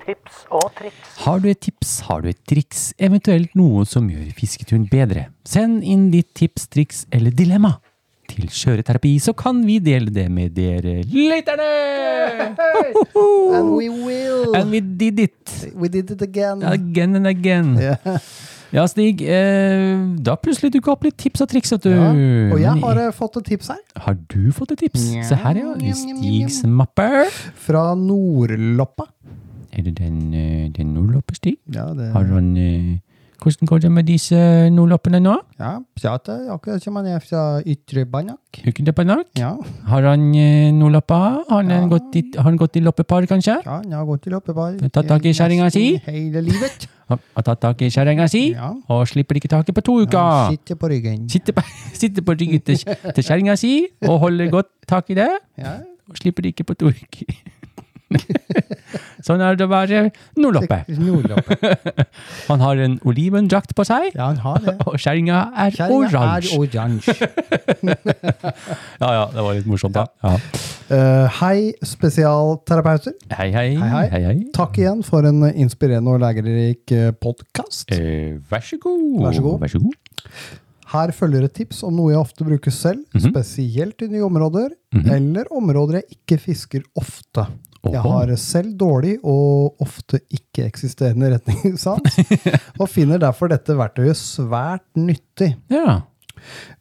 S3: Tips og triks.
S2: Har du et tips, har du et triks, eventuelt noe som gjør fisketuren bedre? Send inn ditt tips, triks eller dilemma til Skjøreterapi, så kan vi dele det med dere lytterne!
S6: And we will.
S2: And we did it
S6: we did it again.
S2: again and again.
S6: Ja.
S2: Ja, Stig, eh, da plutselig dukka opp litt tips og triks, vet du.
S6: Ja.
S2: Mm.
S6: Og jeg har
S2: Men,
S6: eh, fått et tips her.
S2: har du fått et tips? Se her, ja. I Stigs mappe.
S6: Fra Nordloppa.
S2: Er det den, eh, den nordloppestig?
S6: Ja, det
S2: Har han eh, Hvordan går det med disse eh, nordloppene nå?
S6: ja, prater akkurat som han er fra Ytre Banak.
S2: Uken til Panak?
S6: Ja,
S2: Har han eh, noen lopper? Har han,
S6: Ja.
S2: gått i, har han gått i loppepar, kanskje?
S6: ja, han har gått i loppebar.
S2: Du har tatt tak i kjerringa si?
S6: nesten Hele livet.
S2: Har har tatt tak i kjerringa si?
S6: Ja.
S2: Og slipper ikke taket på to
S6: Han
S2: uker?
S6: sitter på ryggen.
S2: Sitter på, sitter på ryggen til, til kjerringa si og holder godt tak i det,
S6: Ja,
S2: og slipper ikke på to uker. sånn er det å være nordloppe.
S6: Nordloppe.
S2: Han har en olivendrakt på seg,
S6: Ja, han har det.
S2: og kjerringa er
S6: Kjerringa er
S2: oransje.
S6: oransje.
S2: Ja, ja, det var litt morsomt, da. Ja.
S6: Eh, hei, spesialterapeuter.
S2: Hei, hei.
S6: Hei, hei. Takk igjen for en inspirerende og lærerik podkast.
S2: Eh, vær så god.
S6: Vær så god.
S2: Vær så god.
S6: Her følger et tips om noe jeg ofte bruker selv, spesielt i nye områder, eller områder jeg ikke fisker ofte. Jeg
S2: Oho.
S6: har selv dårlig og ofte ikke-eksisterende retningssans, og finner derfor dette verktøyet svært nyttig.
S2: Ja.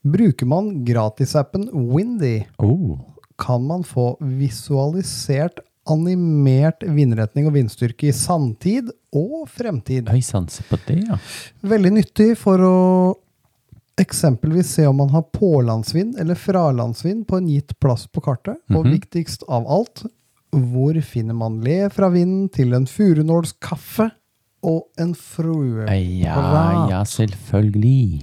S6: Bruker man gratisappen Windy,
S2: Oh.
S6: kan man få visualisert animert vindretning og vindstyrke i samtid og fremtid.
S2: Oi sann, se på det, ja.
S6: Veldig nyttig for å eksempelvis se om man har pålandsvind eller fralandsvind på en gitt plass på kartet. Og
S2: Mhm.
S6: viktigst av alt, hvor finner man le fra vinden til en furunåls kaffe og en frue?
S2: Ja, ja, selvfølgelig.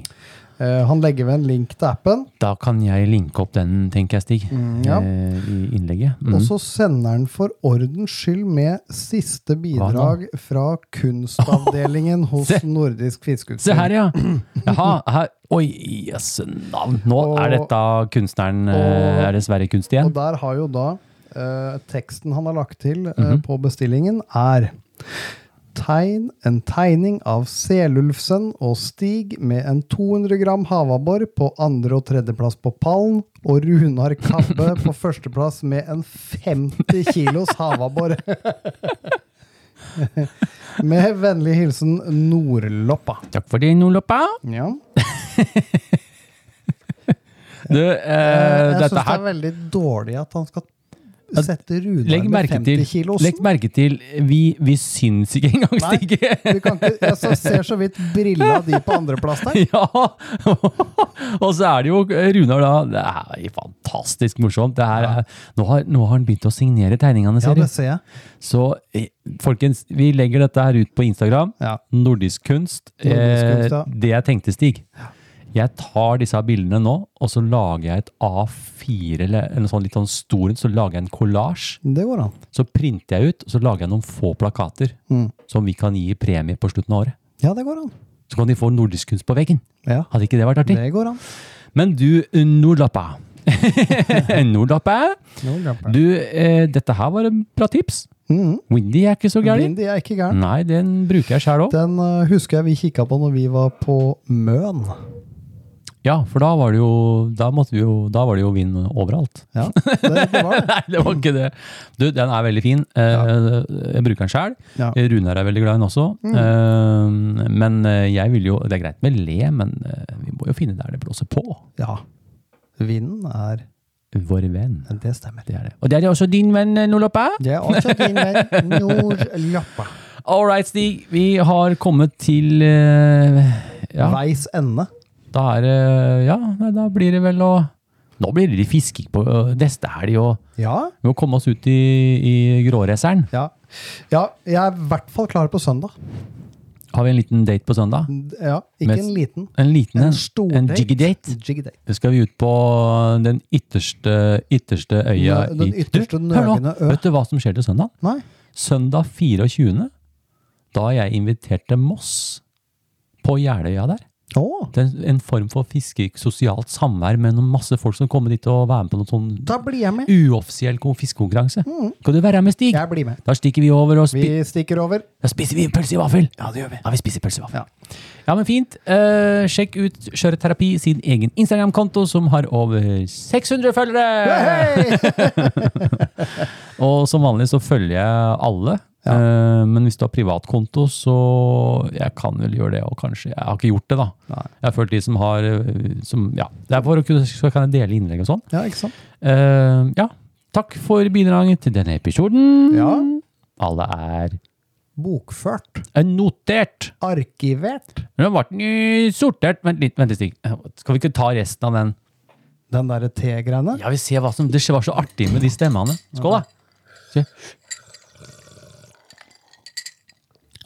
S6: Eh, han legger ved en link til appen,
S2: Da kan jeg linke opp den, tenker jeg, Stig,
S6: Mm, ja.
S2: eh, i innlegget. Mm.
S6: og så sender han for ordens skyld med siste bidrag fra kunstavdelingen hos
S2: Se.
S6: Nordisk Fiskeutstyr.
S2: Se her, ja! Jaha, her. Oi, jøsse navn! Nå er
S6: Og-
S2: dette kunstneren eh,
S6: og-
S2: Er det Sverre Kunst igjen?
S6: Og der har jo da eh, teksten han har lagt til eh,
S2: Mhm.
S6: på bestillingen, er Tegn en tegning av Selulfsen og Stig med en 200 gram havabbor på andre- og tredjeplass på pallen, og Runar Kabbe på førsteplass med en 50 kilos havabbor. med vennlig hilsen Nordloppa.
S2: Takk for det, Nordloppa!
S6: Ja.
S2: Du, eh,
S6: jeg syns
S2: dette
S6: det er
S2: eh, her
S6: veldig dårlig at han skal
S2: Ja,
S6: sette Runar
S2: Legg
S6: med
S2: merke, til,
S6: 50 kilos.
S2: legg merke til Vi, vi syns ikke engang,
S6: Nei.
S2: Stig.
S6: Du kan ikke, jeg så ser så vidt brilla di på andreplass der.
S2: Ja! Og så er det jo eh, Runar, da. Det er jo fantastisk morsomt. Det her er, nå, har, nå har han begynt å signere tegningene,
S6: Ja,
S2: ser
S6: det
S2: du.
S6: ser jeg.
S2: Så eh, folkens, vi legger dette her ut på Instagram.
S6: Ja.
S2: Nordisk kunst.
S6: Nordisk kunst, ja.
S2: eh, det jeg tenkte, Stig. Jeg tar disse her bildene nå, og så lager jeg et A4 eller en sånn litt sånn stor en. Så lager jeg en kollasj.
S6: Det går an.
S2: Så printer jeg ut, og så lager jeg noen få plakater
S6: Mm.
S2: som vi kan gi i premie på slutten av året.
S6: Ja, det går an.
S2: Så kan de få nordisk kunst på veggen.
S6: Ja,
S2: Hadde ikke det vært artig?
S6: det går an.
S2: Men du, eh, Nordlappa. Eh, Nordlappa.
S6: Nå glemmer jeg.
S2: Du, eh, dette her var en bra tips.
S6: Mhm.
S2: Windy er ikke så gæren.
S6: Lindy er ikke gæren.
S2: Nei, den bruker jeg sjæl òg.
S6: Den eh, husker jeg vi kikka på når vi var på Møn.
S2: Ja, for da var det jo Da, måtte vi jo, da var det jo vind overalt.
S6: Ja, det, det var det.
S2: Nei, det var ikke det. Du, den er veldig fin. Eh, Jeg bruker den sjøl.
S6: Ja.
S2: Runar er veldig glad i den også. Eh, Men eh, jeg vil jo Det er greit med le, men eh, vi må jo finne der det blåser på.
S6: Ja. Vinden er
S2: Vår venn.
S6: Det stemmer.
S2: Det er det. Og det er jo også din venn, eh, Noloppa.
S6: Det er også din venn Nordlappa.
S2: All right, Stig. Vi har kommet til eh, Ja,
S6: Veis ende.
S2: da er det Ja, nei, da blir det vel å Nå blir det litt fisking på eh, neste helg og
S6: Ja.
S2: Vi må komme oss ut i, i gråreseren.
S6: ja. Ja, jeg er i hvert fall klar på søndag.
S2: Har vi en liten date på søndag?
S6: Ja, ikke
S2: Med-
S6: en liten.
S2: En liten
S6: En
S2: en.
S6: stor
S2: En
S6: date.
S2: jiggy date.
S6: Jiggy date.
S2: Det skal vi ut på den ytterste, ytterste øya
S6: Nø- den
S2: i-
S6: ytterste
S2: Du, hør nå,
S6: nøgne ø.
S2: Vet du hva som skjer til søndag?
S6: Nei.
S2: Søndag 24. Da er jeg invitert til Moss. På Jeløya der.
S6: Å!
S2: Det er en form for fiske, sosialt samvær med noen masse folk som kommer dit og være med på noen sånn
S6: Da blir jeg med.
S2: uoffisiell kon- fiskekonkurranse. Kan du være med, Stig?
S6: Jeg blir med.
S2: Da stikker Mm. vi over og spi
S6: Vi stikker over.
S2: da spiser vi pølse i vaffel! Ja, det gjør vi. Ja, vi spiser pølse i vaffel.
S6: Ja.
S2: Ja, men fint. Eh, sjekk ut Skjøreterapi sin egen Instagram-konto, som har over 600 følgere! Og som vanlig så følger jeg alle. Eh, men hvis du har privatkonto, så Jeg kan vel gjøre det, og kanskje Jeg har ikke gjort det, da. Jeg har følt de som har eh, som, Ja. Det er for å kunne Så kan jeg dele innlegg og sånn.
S6: Ja, ikke sant?
S2: Eh, ja. Takk for bidraget til denne episoden.
S6: Ja.
S2: Alle er
S6: Bokført.
S2: eh, notert.
S6: Arkivert.
S2: Nå ble den jo sortert. Vent litt, vent litt, Stig. Skal vi ikke ta resten av den?
S6: Den derre T-greiene.
S2: Ja, vi ser hva som Det var så artig med de stemmene. Skål, da. Se.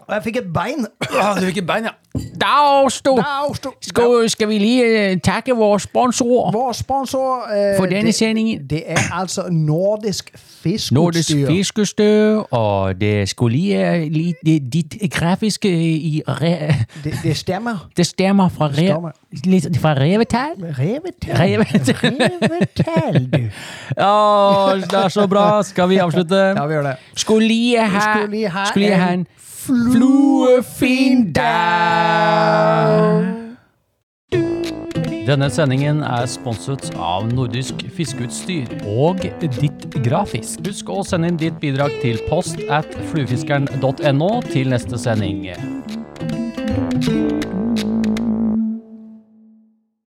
S6: Og jeg fikk et bein!
S2: Å, Du fikk bein, ja. Da, sto.
S6: Au, sto-
S2: Skal, skal vi lige takke vår sponsor
S6: Vår sponsor eh,
S2: for denne
S6: det-
S2: sendingen?
S6: Det er altså Nordisk Fiskeutstyr.
S2: Nordisk Fiskestø, og det skulle lige, øh, lige det, dit grafiske øh, i re,
S6: Det, det stemmer.
S2: Det stemmer fra, re,
S6: Stemmer.
S2: litt fra revetal.
S6: Revetall.
S2: Revetall.
S6: Revetall, du.
S2: Å, det er så bra! Skal vi avslutte?
S6: Ja, vi gjør det.
S2: Skulle lige ha
S6: Skulle lige ha
S2: skulle lige ha
S6: en
S2: en fluefin dag. Denne sendingen er sponset av Nordisk Fiskeutstyr og Ditt Grafisk. Husk å sende inn ditt bidrag til post at fluefiskeren.no til neste sending.